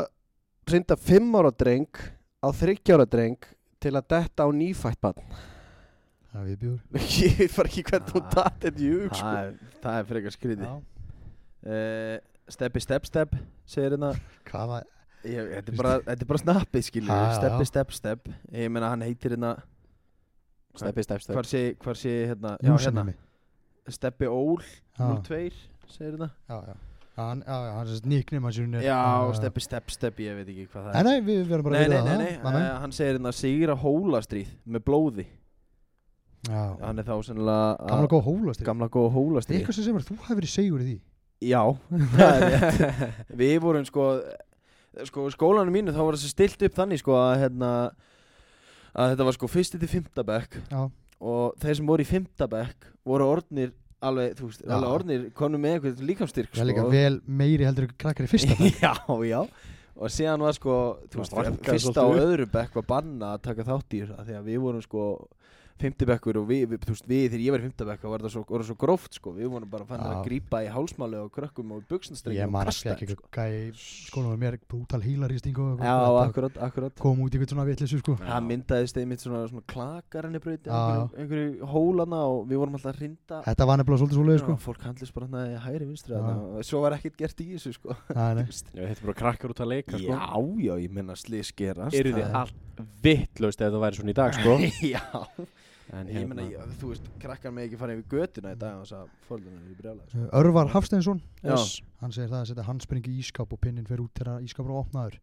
hrinda 5 ára dreng á 30 ára dreng til að detta á nýfætt barn
það er viðbjóður
ég veit bara ekki hvernig hún
Ah.
datt þetta í hug sko.
Það er, það er frekar skriði
Já.
uh, Steppi step step segir hérna
Hvað var
Ég- Þetta er bara, þetta er bara snappið skilur
Já, já, já.
Steppi step step Ég meina hann heitir hérna
steppi steppi steppi
Hvar sé, hvar sé hérna Já, hérna
Júsanami
Steppi Ól
Já,
02 segir hérna
já, já Já, Hann, já, já, hann sérst hérna. nýknum hans unni
Já, Steppi step step Ég veit ekki hvað það
Ah. Nei,
er
nei, við verðum bara
Nei,
að
nei,
vita
nei,
það
nei, eh, hann segir hérna Sigra Hólastríð með blóði
Já,
Hann er þá sennilega að-
gamla góð hólast
Gamla
Það
góð
er
Hólastríð
eitthvað sem semur, þú hefur verið segur í því
Já, það er rétt Við vorum sko, sko skólanum mínu þá var þessi stilt upp þannig sko að, hérna, að þetta var sko fyrsti til fimmta bekk
Já,
og þeir sem voru í fimmta bekk voru orðnir alveg, þú veist,
Já.
alveg orðnir konum með eitthvað líkamstyrk
það er líka vel meiri heldur en krakkar í fyrsta bekk.
Já, já og síðan var sko, þú veist,
rakkaði
fyrsta
svolítið
og öðru bekk var banna að taka þátt í þessu af því að við vorum sko fimmti bekkur og við, við, þú veist, við þegar ég var í fimmta bekk þá var það svo, voru svo gróft sko, við vorum bara fannig að
Já.
grípa í hálsmáli og krökkum og buksnastrengi
Ég
og
man
kasta
alltaf
þeim,
ekki eitthvað gæði skólanum mér brútal hílaristing og
sko. Já, akkurat, akkurat
kom út í eitthvað svona vitlissu sko
Það myndaðist einmitt svona, svona klakarinni breyt
Já,
einhverju, einhverju hólana og við vorum alltaf að rinda
Þetta var nefnilega svolítið svolítið sko
Fólk handlist bara hann að hægri vinstri
Já.
þarna og Svo var ekkert gert í þessu sko
Nei, nei.
Já, þetta er bara krakkar út að leika sko.
Já, já, ég menna slís gerast
eru þið
það-
allt vittlaust ef það væri svona í dag sko.
Já,
en hérna-
ég menna, ég- þú veist, krakkar með ekki fara yfir götuna í dag og þess að fólkina eru sko. brjálega
Örvar Hafsteinsson,
Já,
hann segir það að setja handspringi í ískap og pinnin fer út þegar ískapur er opnaður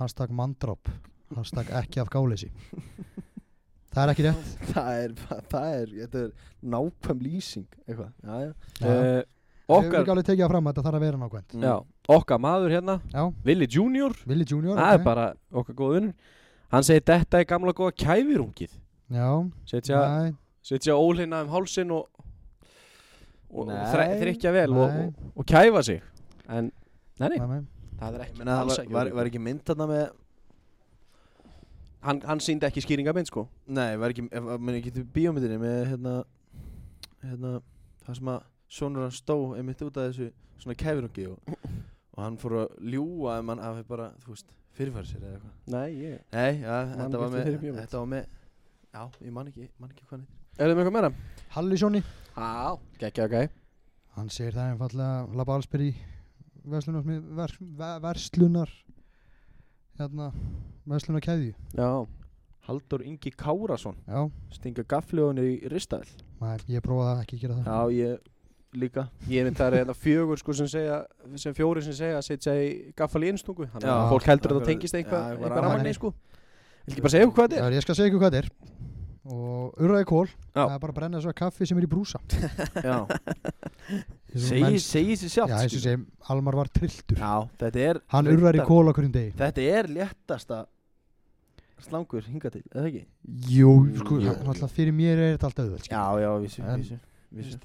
Hashtag mandrop Hashtag ekki af gáleysi Það er ekki rétt
það er, það er, þetta er nákvæm lýsing eitthvað Já, já
Já.
uh,
Okkar... Við
okkar
ekki alveg tekið það fram að þetta þarf að vera
Mm.
nákvæmt.
já, okkar maður hérna
Já,
Willi Junior
Willi Junior. ok.
það er bara okkar góð vinnur hann segir þetta er gamla góða kæfirungið
Já,
setja,
nei,
setja ólinna um hálsin og, og, og
Nei.
þre, þrykja vel og,
Nei.
og, og kæfa sig en nei, nei,
nei, nei.
það er
Ég
ekki,
menna,
alls
var,
ekki
var,
úr-
var ekki mynd þarna með
hann, hann síndi ekki skýringabind sko
Nei, var ekki, ef- menn ekki til bíómyndinni með hérna, hérna, það sem að sonur hann stó einmitt út af þessu svona kæfirungi og, og hann fór að ljúa ef hann hafi bara, þú veist, fyrirfæri sér eða eitthvað.
nei, ég
Nei, já,
Man
þetta var
ekki
með,
þeirri bíómynd.
þetta var með, já, ég man ekki, man ekki hvað hann heitir.
er það með eitthvað meira?
Halli Sjóni.
já, geggja, ok
Hann segir það einfallega Lapa Allsberg í verslunar, ver, ver, verslunar, hérna, verslunar keðju.
já,
Haldur Ingi Kárasson,
Já,
stinga gafli á henni í ristaðil.
nei, ég prófaði að ekki að gera það.
Já, ég líka.
ég mynd það er hérna fjögur sko sem segja sem fjóri sem segja að setja í gaffal í einstungu þannig
Já.
að fólk heldur að það
Akkurat.
tengist eitthvað
Já, eitthvað
eitthvað
rafmagni.
ramanni sko vil ekki bara segja okkur hvað þetta er
Já, ég skal segja ykkur hvað þetta er. og urraði kól
Já.
það er bara að brenna þessu kaffi sem er í brúsa
Já,
Menn-
segi, segi sér sjálft
Já, eins og
skilur.
sem Almar var trilltur
Já, þetta er
Hann urrar í
reyndar-
kól okkur um degi
Þetta er léttasta slangur hinga til, eða ekki?
Jú, sko,
Jú.
hann- náttúrulega fyrir mér er þetta alltaf auðveld skilur.
Já, já, vissu,
En-
vissu, vissu.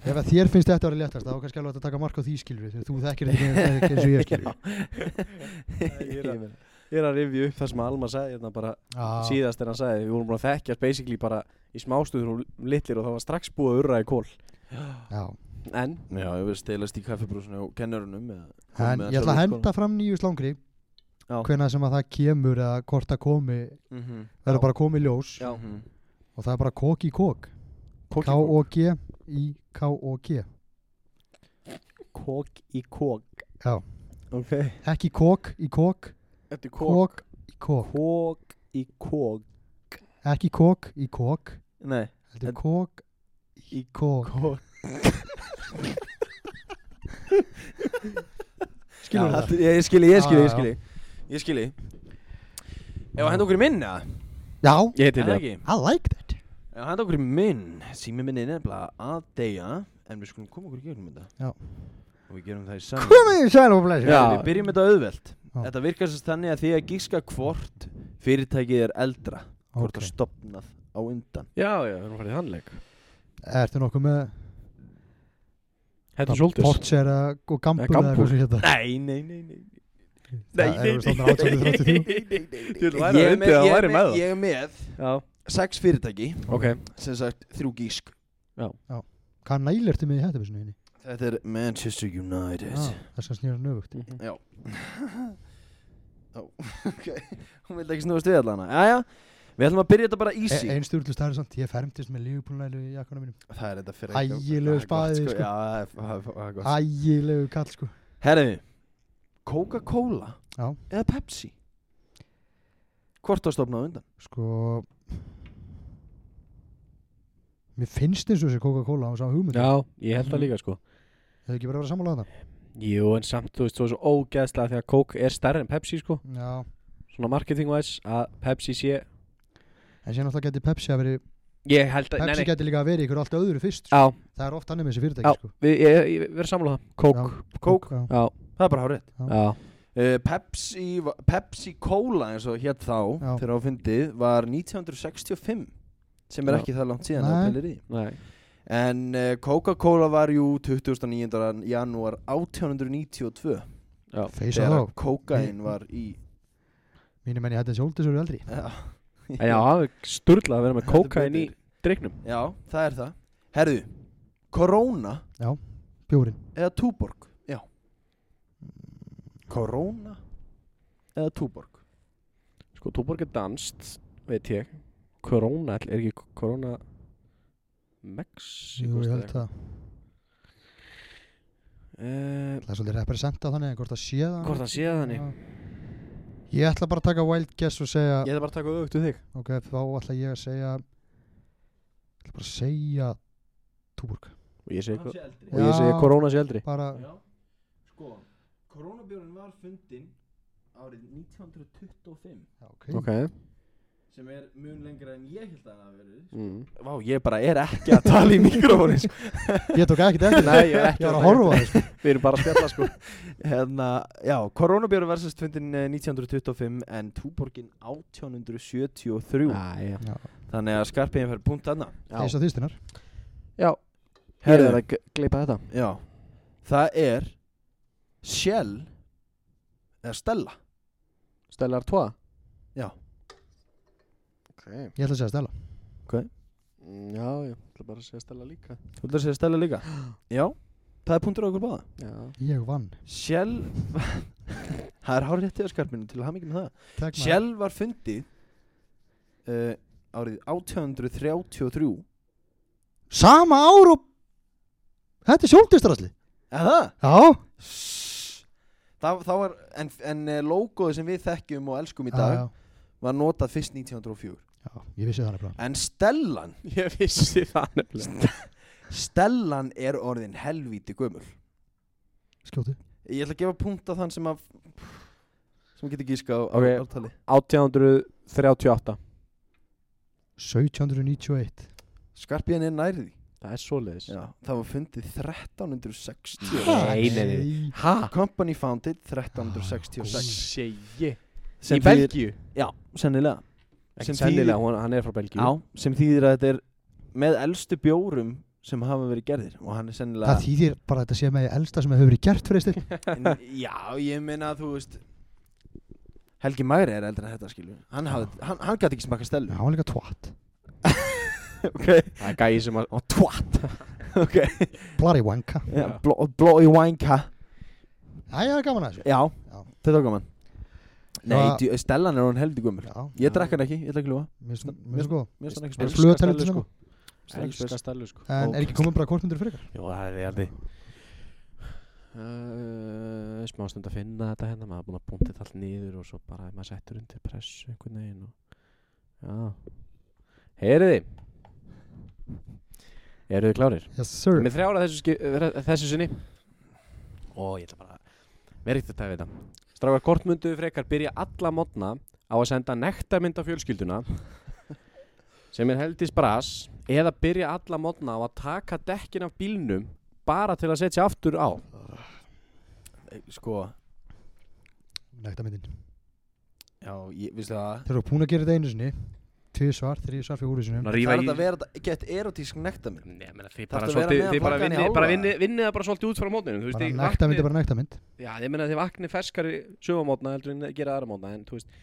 Ef að þér finnst þetta að vera léttast þá er kannski alveg hægt að taka mark á því skilur við, þegar þú þekkir þetta ekki eins- eins og ég skilur við.
Ég
Ég er
meina,
að rifja upp það sem Almar sagði hérna bara
Já.
síðast en hann sagði við vorum búin að þekkjast basically bara í smástuður og litlir og það var strax búið að urra í kól
Já.
en
Já, ég verið stelast í kaffibrúsinu og kennurunum eða komið
En
með
ég ætla að
sjálfur í
henda fram nýju slangri
Já.
hvenær sem að það kemur eða hvort það komi
skólann. Mhm.
verður bara komið ljós
Já.
og það er bara kók í kók
kók
K-O-G í K-O-G
í kók
Já.
ok
ekki kók í kók
þetta er
kók í kók
kók í kók
ekki kók í kók
Nei,
heldur
En-
kók í kók
kók
skilur
Já,
það
allt- Ég skilji,
Já,
ég skilji, ég
já.
skilji Ég skilji Ef að henda okkur í minn, eða?
já
ég heiti
Er það
þetta
ekki?
I like that
Ef að henda Eh, okkur í minn, sími minn er nefnilega að deyja En við skulum koma okkur í gegnum þetta
Já.
Og við gerum það í saman
komið í sæl og blessi
Já.
Við byrjum þetta auðvelt
Já.
Þetta virkar sérst þannig að því að gíska hvort fyrirtækið er eldra Hvort
Ok.
það stopnað á undan
já já við erum farið þannleik
ertu nokkuð með
þetta er svolítið
Portsera og Gambur
Nei, Gambur.
sem hérna
Nei, nei, nei, nei
Það er við stofnir 1833
Ég væri að reyndi að
ég, er
væri með
með, ég er með
já
sex fyrirtæki
ok
sem sagt þrjú gísk
Hvað næl ertu með í hættu þessu neyni?
Þetta er Manchester United
Það sem snýra nöfugt
Já Ó, ok Hún vildi ekki snúast við allana Jæja, við ætlum að byrja þetta bara
e,
easy
Einn stjórnlust það er samt Ég fermtist með lífbúlnælu í jakkuna mínum
Það er þetta fyrir
Ægilegu spaði, sko.
Já, það er- það er- það er gott
Ægilegu kall sko
Herðu, Coca-Cola
Já.
eða Pepsi Hvort það stofnaði undan?
Sko Mér finnst eins og þessi Coca-Cola á sá hugmynd
já ég held það líka sko
Hefur ekki bara verið að sammála það?
jú en samt þú veist þú er svo ógeðslega þegar kók er stærri en Pepsi sko
Já
svona marketing wise að Pepsi sé
En síðan alltaf geti Pepsi að veri
ég held að
Pepsi
nei nei
geti líka að veri ykkur allt öðru fyrst sko.
já
Það er oft annir með þessi fyrirtæki
Já,
sko
við, ég, ég, ég verð samlega það Kók
Coke.
já.
Já,
Það er bara hárið
já,
Uh, Pepsi, va- Pepsi Cola eins og hér þá
Já.
þegar á fyndið var 1965 sem er
Já.
ekki það langt síðan
Nei.
að pælir í því.
nei
en uh, Coca-Cola var jú 29. janúar 1892
Feisa
þegar
þá
kokain var í
Mínu menn ég hætti þessi óldis eru eldri
já,
En Já, það er sturlað að vera með
Heldur
kókain í
betur.
driknum
já, það er það herðu, Corona
Bjórin
eða Tuborg já Corona eða Tuborg
Sko, Túborg er danst, veit ég Corona, er ekki Corona
Jú
Mexiko
ég held það
uh,
Það er svolítið representa þannig en Hvort það sé það
Hvort það sé það þannig
Já. Ég ætla bara að taka wild guess og segja
Ég ætla bara að taka auðvögt við þig
Ok, þá ætla ég að segja Ég ætla bara að segja Túborg
Og ég segi,
eldri
og ég segi
Já.
Corona sé eldri
Bara
Já, sko, koronabjörn var fundin árið 1925
Já, ok
Ok
sem er mun lengra en ég held að það hafi verið
mm.
Vá, ég bara er ekki að tala í mikrofónu sko.
Ég tók ekkert eftir
Nei, ég er ekki
Ég var
að
að horfa á þig, sko.
Við erum bara að spjalla sko
Hérna, já, koronabjörn var sérst fundin eh, 1925 en túborgin 1873
Æja
Já,
Þannig að skarpiðin fyrir punkt aðna
Eins og þýstunar
Já, ég er að gleipa þetta
já, það er Shell eða Stella
Stellar 2
Já.
Ok Mm,
Ég ætla að segja Stella
Já, ég ætla bara að segja Stella líka
Þú ætlar að segja Stella líka? Já, það er punktur á okkur báða
Já
Ég vann
Shell Það er hár réttið á skarpinu til að hafa mikið með það
Tek maður.
Shell var fundið uh, árið 1833
Sama ár og Þetta er sjóldistarasli
Eða?
Já
Það, það var, en, en eh, logoið sem við þekkjum og elskum í dag
Já,
var notað fyrst 1904
já, ég vissi það nefnilega
En Stellan,
Ég vissi það nefnilega
Stellan er orðin helvíti gömul
Skjótu
Ég ætla að gefa punkt á þann sem að sem getur gíska á
Ok.
ártali
1838
1791
Skarpíðan er nærði
það er svoleiðis
Já, það var fundið 1360
Nei, nei, nei. ha?
Company founded 1366
segi í
Sem þýðir-
Belgíu
Já, sennilega
ekki
Sem
sennilega,
þýðir-
hún, hann er frá Belgíu
Já, sem þýðir að þetta er með elstu bjórum sem hafa verið gerðir og hann er sennilega
Það þýðir bara að þetta sé með því elsta sem hefur verið gert fyrir stil
En, Já, ég meina að þú veist Helgi Magri er eldri en þetta skilur Hann, hafði, hann, hann gæti ekki smaka
Já,
stelu
hann var líka tvatt
Ok,
það er gæi sem að, og tvatt
ok
Blari wanka
Já,
Já.
bló- Blói vænka
Æja, gaman að þessu
Já,
Já.
þetta tók gaman Nei,
Já.
djú, Stellan er hún heldig gummur
Já,
Ég drakk hann ekki, ég ætla ekki ljúa
mér finnst- sko. mér finnst það góð
Mér finnst hann ekki
Bara
spes
flug- flugatel
Elska
út í
Stellu, sko.
Elska
elska stælu sko
En er ekki komið bara kortmyndur fyrir ykkar?
Jó, það er aldrei uh, smá stund að finna þetta hérna maður er búin að búnta þetta allt niður og svo bara ef maður settur undir pressu einhvern veginn og... Já Heyriði Eru þið klárir?
Yes
Ég
sir
er Með þrjára þessu, ski- eh, þessu sinni Og ég ætla bara verið þetta að veita Strákar kortmundu frekar byrja alla modna á að senda nektarmynd á fjölskylduna sem er heldis bras eða byrja alla modna á að taka dekkin af bílnum bara til að setja aftur á
Sko,
Nægta myndin
já, ég, vissi það
Þeir eru búin að gera þetta einu sinni Tvið svar, þrið svar, fjóru sinni
Það er þetta að vera, gett erotísk nekta minn
Nei, menna, þið
Þarftu
bara
að vera
svolítið,
með
þið
að
bara
flagga hann í
vinnið bara
hálfa?
vinnið vinnið það bara svolítið út frá mótninu, þú veist,
Bara
þið
nægta myndi,
vaknið-
bara nægta mynd
Já, ég meina að þið vaknið ferskari sögumótna heldur en að gera aðra mótna, en þú veist,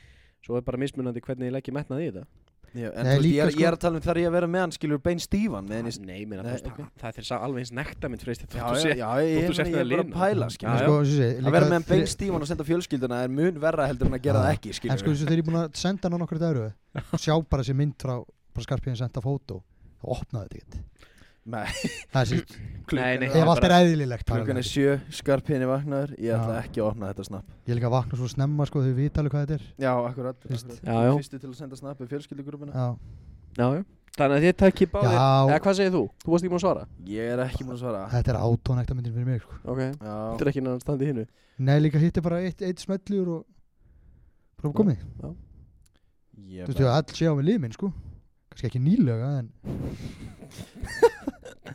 svo er bara mismunandi hvernig ég leggja metnað í þetta.
Já, en
Nei,
þú veist, ég,
líka,
er,
sko-
ég er að tala um þar ég að vera með hann skilur bein stífan með henni
Ah, Nei, meina,
Nei,
þú veist,
ok.
það- það er þeirra alveg eins nekta mynd freist
Já,
þetta þú
já,
sé.
já, ég,
þótt þú
ég,
sért
ég er
með
bara
linu.
að pæla
Já,
skilur
já.
Sko, þessi,
Að vera með hann bein stífan og senda fjölskylduna er mun verra heldur en að gera það ekki
En sko
skilur
þessu þegar ég er búin að senda hann á nokkur dæru Sjá bara þessi mynd frá bara skarpiðin senda fótó Það opnaði þetta
Nei.
ekkert Það er sýtt
Nei, nei, það
Ef allt er
bara-
eðlilegt það er
Klukkan
það.
er sjö, skarpin er vaknaður Ég
Já.
ætla ekki að opna þetta snapp
Ég er líka að vakna svo snemma sko þau vita alveg hvað þetta er
Já, akkurat,
Veist.
akkurat.
Já, já.
Fyrstu til að senda snapp er fjölskyldugrúpina
Já,
Já, já. Þannig að þið takki báðir, eða
Já
hvað segir þú? Þú varst ekki múin að svara?
Ég er ekki múin að svara
þetta er átónægta myndin fyrir mig sko.
Ok. Þú
Já,
er ekki náttúrulega standið hinnu.
Nei líka hitti bara eitt, eitt smellur og bara komið Þú
ég
veist, all sé á mig liðminn, sko kannski ekki nýlega, en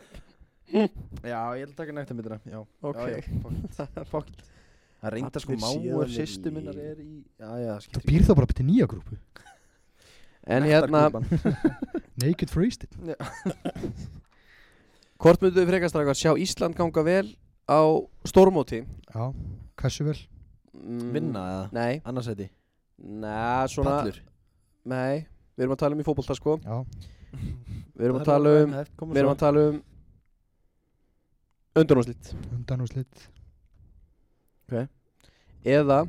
Já, ég ætla að taka nægt að myndina Já,
Ok.
já, já, fuck it. fuck it. Það reynda sko
Allir
máur
síðan
sýstu
í-
minnar er í Já, já,
þú býr þá bara upp til nýja grúpu
En hérna,
Naked Freestyle
hvort myndu þið frekast að sjá Ísland ganga vel á stórmóti?
Já, hversu vel
Mm,
Vinna eða
Nei,
Annarsæti
nei, svona,
Pallur
nei, við erum að tala um í fótbolta sko,
Já,
við erum að tala um, við erum að tala um undurnúslitt
undan og slitt
eða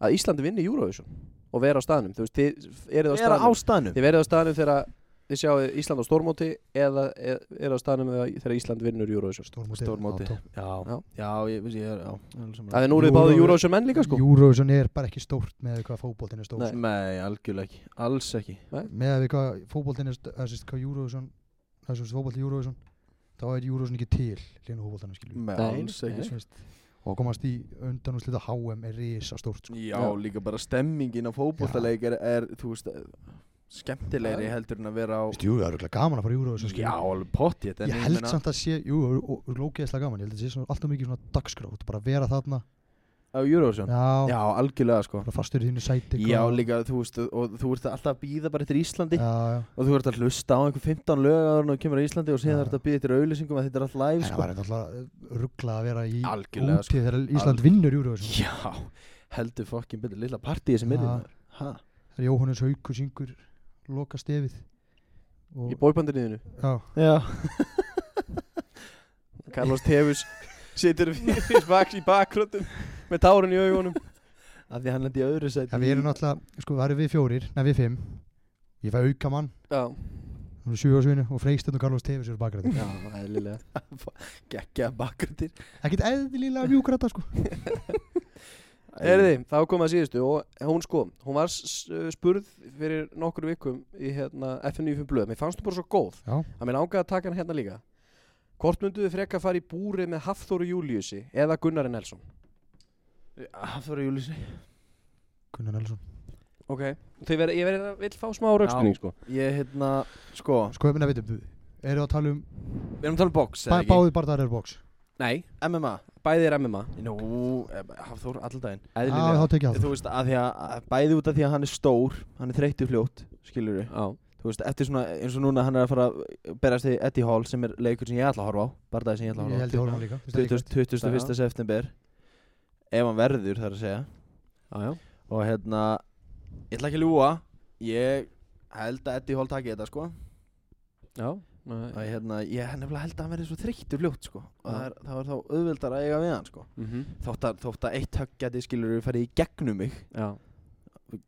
að Íslandi vinni Eurovision og vera á staðnum, þú veist, þið eru á
Við
staðnum
erum á staðnum
Þið verðið á staðnum þegar þið sjáu Ísland á stórmóti eða er, er á staðnum þegar þegar Ísland vinnur Eurovision
Stórmóti
Stórmóti
átó.
Já,
Já.
já, ég veist ég er Já, ég er alveg sammála.
Það er nú eru þið báði
Euro-
Eurovision menn líka sko
Eurovision er bara ekki stórt með hvað fótboltin er stórt
Nei.
sko.
Nei, algjörlega ekki Alls ekki
með við hvað fótboltin er stórt þessi hvað Eurovision þessi fótbolti Eurovision þá er Eurovision ekki til línu fótboltanum skilju
Nei,
Nei,
alls
nei.
ekki sko.
og komast í undan og slita HM er risa stórt sko.
Já,
Já.
líka bara stemmingin á fótbollaleik er, er, þú veist, eh, skemmtilegri
Já.
heldur en að vera á
Veistu, jú, það er örugglega gaman að fara í Eurovision skilju
Já, alveg pottjétt
ég held samt að sé, jú, lókiðislega gaman ég held að sé svona, alltaf mikið svona dagskrá þú ert bara að vera þarna,
Á Eurovision
já,
Já, algjörlega sko
bara fastur í þínu sæti
Já,
hvað-
líka, þú veist, og þú ert alltaf að býða bara eftir Íslandi
já, já.
og þú ert að hlusta á einhver 15 lög áður en þú kemur á Íslandi og síðan
Já.
þú ert að býða eftir auðlýsingum að þetta er allt
En
live
það
sko
var alltaf ruggla að vera í
Algjörlega, sko.
úti þegar Ísland
Alg-
vinnur Eurovision
Já, heldur fokkin betur, lilla partíi sem
Já.
er Hæ?
það er Jóhannes Haukur syngur loka stefið og,
Í bóibandinniðinu
já,
Já
Carlos Tevez situr fyrir vaks í bakgröndum með tárun í augunum
Af því hann lendi í öðru sæti
ja, við erum alltaf sko það eru við fjórir, neða við fimm ég fæ auka mann,
Já,
hún er sjú á svinu og freistund og Carlos Tevez eru bakræði
já, eðlilega
Gekkja bakgröndir
ekkert eðlilega mjúkræta sko
Erði, þá kom að síðustu og hún sko, hún var s- s- spurð fyrir nokkur vikum í hérna FNU5 blöð, mér fannst hún bara svo góð
já,
að mér langaði að taka hann hérna líka Hvort mynduðu frekka fara í búri með Hafþóru Júliusi eða Gunnari Nelson?
Hafþóra Júlísi
Gunnar Nelson
Ok, þau verða, ég verða að vil fá smá raukstuðning sko
Ég hérna, sko
Sko, ég minna að veitum, eru að tala um
Við erum að tala um box
bá, báðið barðar er box
Nei,
MMA
bæði er MMA
Nú, Hafþór alldaginn
Já,
Eðlilega
þá tekið
Þú
það
veist að því að, að bæði út af því að hann er stór Hann er þreyttu fljótt, skilur við
Já,
Þú veist, eftir svona, eins og núna hann er að fara að Berast í Eddie Hall sem er leikur sem ég ætla að horfa á Bardaði sem ég ætla að
Ég held
horfa á
ég hólma líka finnst það líka.
20. 21. september Ef hann verður þar að segja
já, já
Og hérna, ég ætla ekki að ljúa Ég held að Eddie Hall taki þetta sko
Já,
Og
næ-
hérna, ég hef nefnilega held að hann verði svo þreyttur fljótt sko Og
Já.
það er, það er þá auðveldar að eiga við hann sko
mhm,
Þótt að, þótt að eitt högg geti skilur við farið í gegnum mig
já,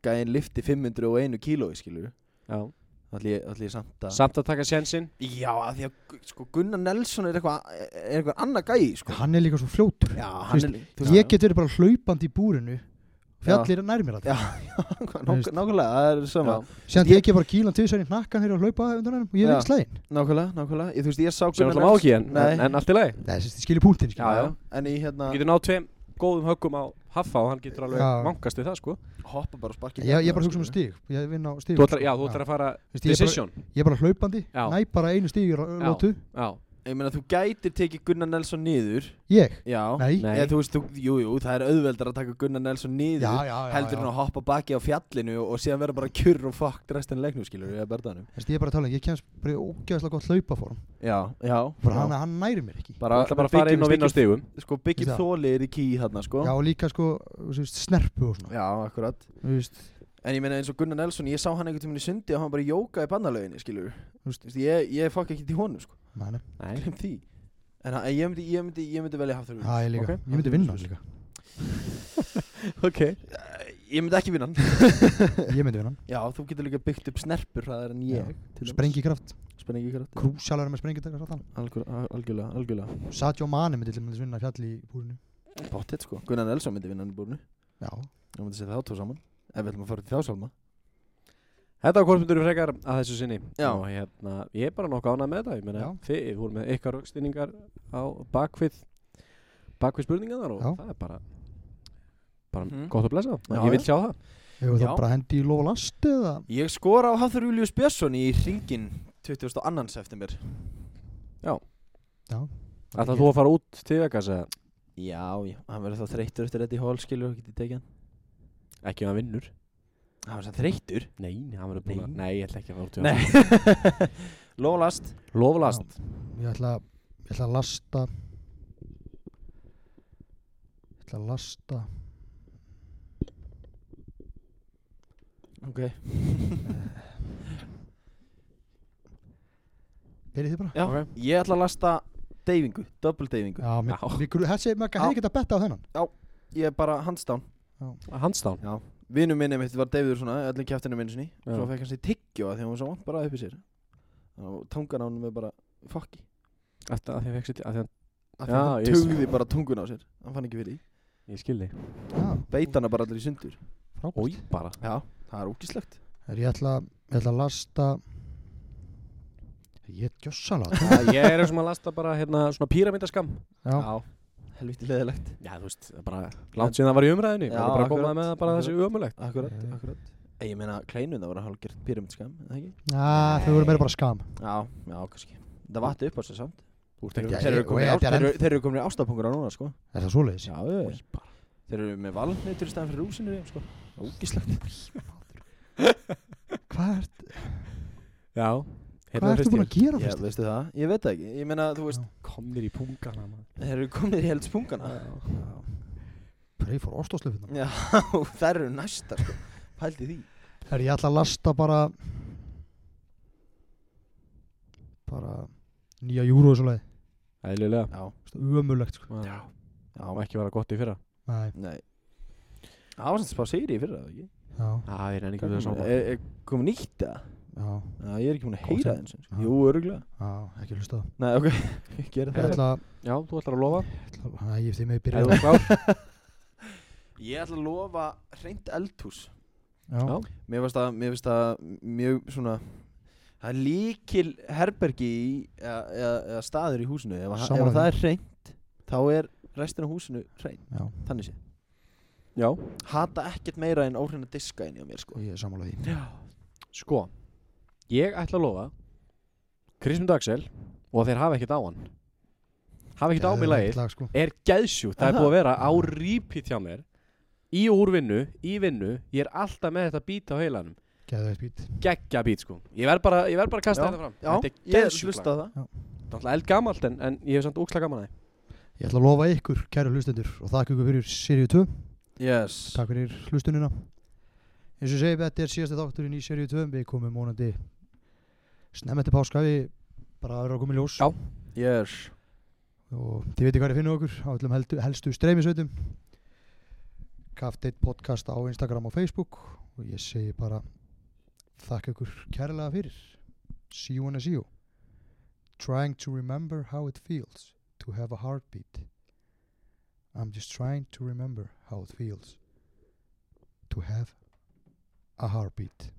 Gæinn lifti 501 kílói skilur
já
Allir ég, ætli ég samt að
Samt að taka sjansinn
Já, að því að gu- sko, Gunnar Nelson er eitthvað er eitthvað annað gæi sko
Hann er líka svo fljótur
Já,
Þú veist,
hann er lí- þú
Ég get verið bara hlaupandi í búrinu Fjallir er nær mér alltaf
Já, nák- nákvæmlega, það er sama
Já,
Sér ég ekki bara kílan til þessari hnakkan fyrir að hlaupa undan hennum og ég er
Já.
ekki slæðin
Nákvæmlega, nákvæmlega, ég, þú veist, ég sá
sem alltaf má ekki en,
Nei.
en, en allt í lagi
Nei, þessi ég skilur púntinn skilur.
Já, já.
En ég hérna
Þú getur náð tveim góðum höggum á Haffa og hann getur alveg
Já.
vankast við það sko
hoppa bara og hérna, sparki
Ég, ég bara hugsa um stig Ég vinn á stig sko.
Þú ætlar, já, þú ætlar að fara
Veist, ég er bara-
decision
Ég er bara hlaupandi
Já.
Næ bara einu stig í rá-
Já.
lótu
Já,
Ég meina, þú gætir tekið Gunnar Nelson niður
Ég?
Já
Nei
Nei.
Eða, þú veist, þú, jú, jú, það er auðveldar að taka Gunnar Nelson niður
Já, já, já,
heldur
já.
hann að hoppa baki á fjallinu og síðan vera bara kjurr og fokkt restin leiknum skilur við að berðanum
Þessi, ég er bara að tala um Ég kemst bara í ógæðslega gott hlaupaform
já, já,
Bara hann, hann næri mér ekki
þú ætlar bara að fara inn og vinna á stigum
sko Biggi
Veist það?
Þóli er í ký þarna sko
Já, og líka sko þú veist, Snerpu og svona
já, akkurat
Þú veist,
en ég meina eins og Gunnar Nelson, ég sá hann einhvern tíminn í sundi og hann bara jóka í bannalöginni skilur
Þú
þú
veist-
veist, ég, ég fokk ekki til honum sko
Nei, nei.
Nei,
glem því en hann- en ég myndi, ég myndi, ég myndi velja Hafþór
Já, ég líka
Ok.
Ég myndi vinna hann líka
ok
Vilhjálmsson. ég myndi ekki vinna hann
Ég myndi vinna hann
já, þú getur líka byggt upp snerpur hraðar en ég til dæmis.
Sprengikraft
sprengi kraft já.
Krúsjalar með sprengikraft
Algjör- al- algjörlega, algjörlega
Satjó Mani myndi til dæmis vinna fjall í búrinu
Pottet sko Gunnar Nelson myndi vinna hann í búrinu
Já
Ég myndi setja þá tvo saman Ef við ætlum að fara til þá salma
Þetta var kortmyndur frekar að þessu sinni
Já.
og hérna, ég er bara nokkuð ánað með þetta ég meina,
Já.
þið voru með ykkar raukstinningar á bakvið bakvið spurningarnar og
Já.
það er bara bara
Mhm.
gott að blessa
Já,
já, ég vil
já.
sjá það
Hefur
Já.
það bara hendi í lofa last eða
Ég skora á Hafþur Július Björnsson í ringin 22. september
Já
Ætlar þú að fara út til Vegas eða
Já, já Hann verður þá þreyttur eftir Eddie Hall skilur og getið tekið hann
ekki að hann vinnur
Hann verður það þreyttur
Nei, hann verður búin að Nei, ég ætla ekki að fara út til Vegas
Nei Lólast
Loflast
Ég ætla Ég ætla að lasta Ég ætla að lasta
Ok
Verið þið bara
Já
Ok.
Ég ætla að lasta deyfingu Double deyfingu
Já, mér,
Já.
við grú, þessi, maður
Já.
hefði ekki að betta á þennan
Ég er bara handstán
Handstán
Já Vinnu minni mitt var deyfður svona Öllum kjæftinu minni sinni
Já.
Svo fekk hann sér tyggjó af Því hann var svo vant bara upp í sér Og tungan á hann með bara Fokki
Eftir að því að því að Já,
Af því hann
ég
tugði bara tungun á sér Hann fann ekki fyrir því
ég skilði
Já,
Beit hana bara allir í sundur
Ói
frábært
bara
Já, það er ógislegt
Herri, Ég ætla, ég ætla að lasta Ég er gjössalega
Já, Ég er sem að lasta bara hérna svona píramítaskam
Já,
helviti leðilegt
Já, þú veist, bara langt síðan það var í umræðinu
Já,
Já, bara að koma
akkurat,
með það bara þessi umulegt
Akkurat,
Já.
akkurat Ég meina, kleinun það voru hálfgjört pyramidskam, eða ekki?
Já þau voru meira bara skam
Já, já, kannski Það vatt upp á sig samt
Þú ert
Þeir
ekki
Já, ég- og ég- þetta
þeir eru komin í ást-
er
þeir eru-
enn-
þeir eru komin í ástapungur á núna, sko
Er það svoleiðis?
Já, já.
Oj, bara.
þeir eru með valneitur í staðan fyrir rúsinu, í þeim, sko Ógislegt
Hvað ert,
Já Hérna
hvað ertu búin að gera
Já,
fyrst?
veistu það? Ég veit það ekki, ég meina, þú veist
Komnir í pungana maður
Þeir eru komin í heldspungana
Prey fór óstóðslöfunum
Já, þær eru næsta, sko Pældi því
Herri, ég ætla að lasta bara Bara Nýja júru og svo leið
Æðlilega
Já,
Ömulegt sko
Já
já,
Má ekki vera gott í fyrra
Nei,
nei Það var samt spá sigri í fyrra, eða ekki?
já,
Já, ég er ennig
Hvað kom- er- er komið nýtt, eða?
já,
Já, ég er ekki múin að
Kom
heyra
sem-
þeim sem.
Já.
Jú, öruglega.
já, ekki hlusta á það
Nei, ok, ég gera
Ég
það.
ætla,
Já, þú ætlar að lofa
ég ætla, næ, ég þið með
Ef
byrja
þú
á-
er klár
Ég ætla að lofa hreint eldhús.
Já,
Mér finnst það, mér finnst það mjög svona, það er líkil herbergi í, eða, eða, eða staður í húsinu. Ef, að-
Sammála
ef að það
því.
er hreint, þá er restin af húsinu hreint,
já
þannig sé.
Já,
hata ekkert meira en óhreina diska inn í á mér sko
og ég er sammála því
Já, sko Ég ætla að lofa Krismund Axel og þeir hafa ekkert á hann hafa ekkert á mig
Geðveikt
lagið
lag, sko.
er gæðsjúkt, það er
Aha.
búið að vera á repeat hjá mér í og úr vinnu, í vinnu ég er alltaf með þetta bít á heilanum
Geðveikt beat.
geggja bít sko, ég verð bara, ég verð bara að kasta
Já,
þetta fram
Já,
þetta er
ég
gæðsjúkt
hlusta
lag,
á það
þetta er eldgamalt en, en ég hef samt óksla gaman að
Ég ætla að lofa ykkur, kæru hlustendur og þakka ykkur fyrir Sirius 2
Yes
Takk fyrir hlustunina eins og segið þetta er síðasti þátturinn í seríu 2 við komum vonandi snemma eftir páska við bara erum að koma í ljós
Já.
Yes
og þið veitir hvað þið finnum okkur á öllum heldu, helstu streymisveitum Kafteitt podcast á Instagram og Facebook og ég segi bara þakka ykkur kærlega fyrir see you when I see you trying to remember how it feels to have a heartbeat I'm just trying to remember how it feels to have a heartbeat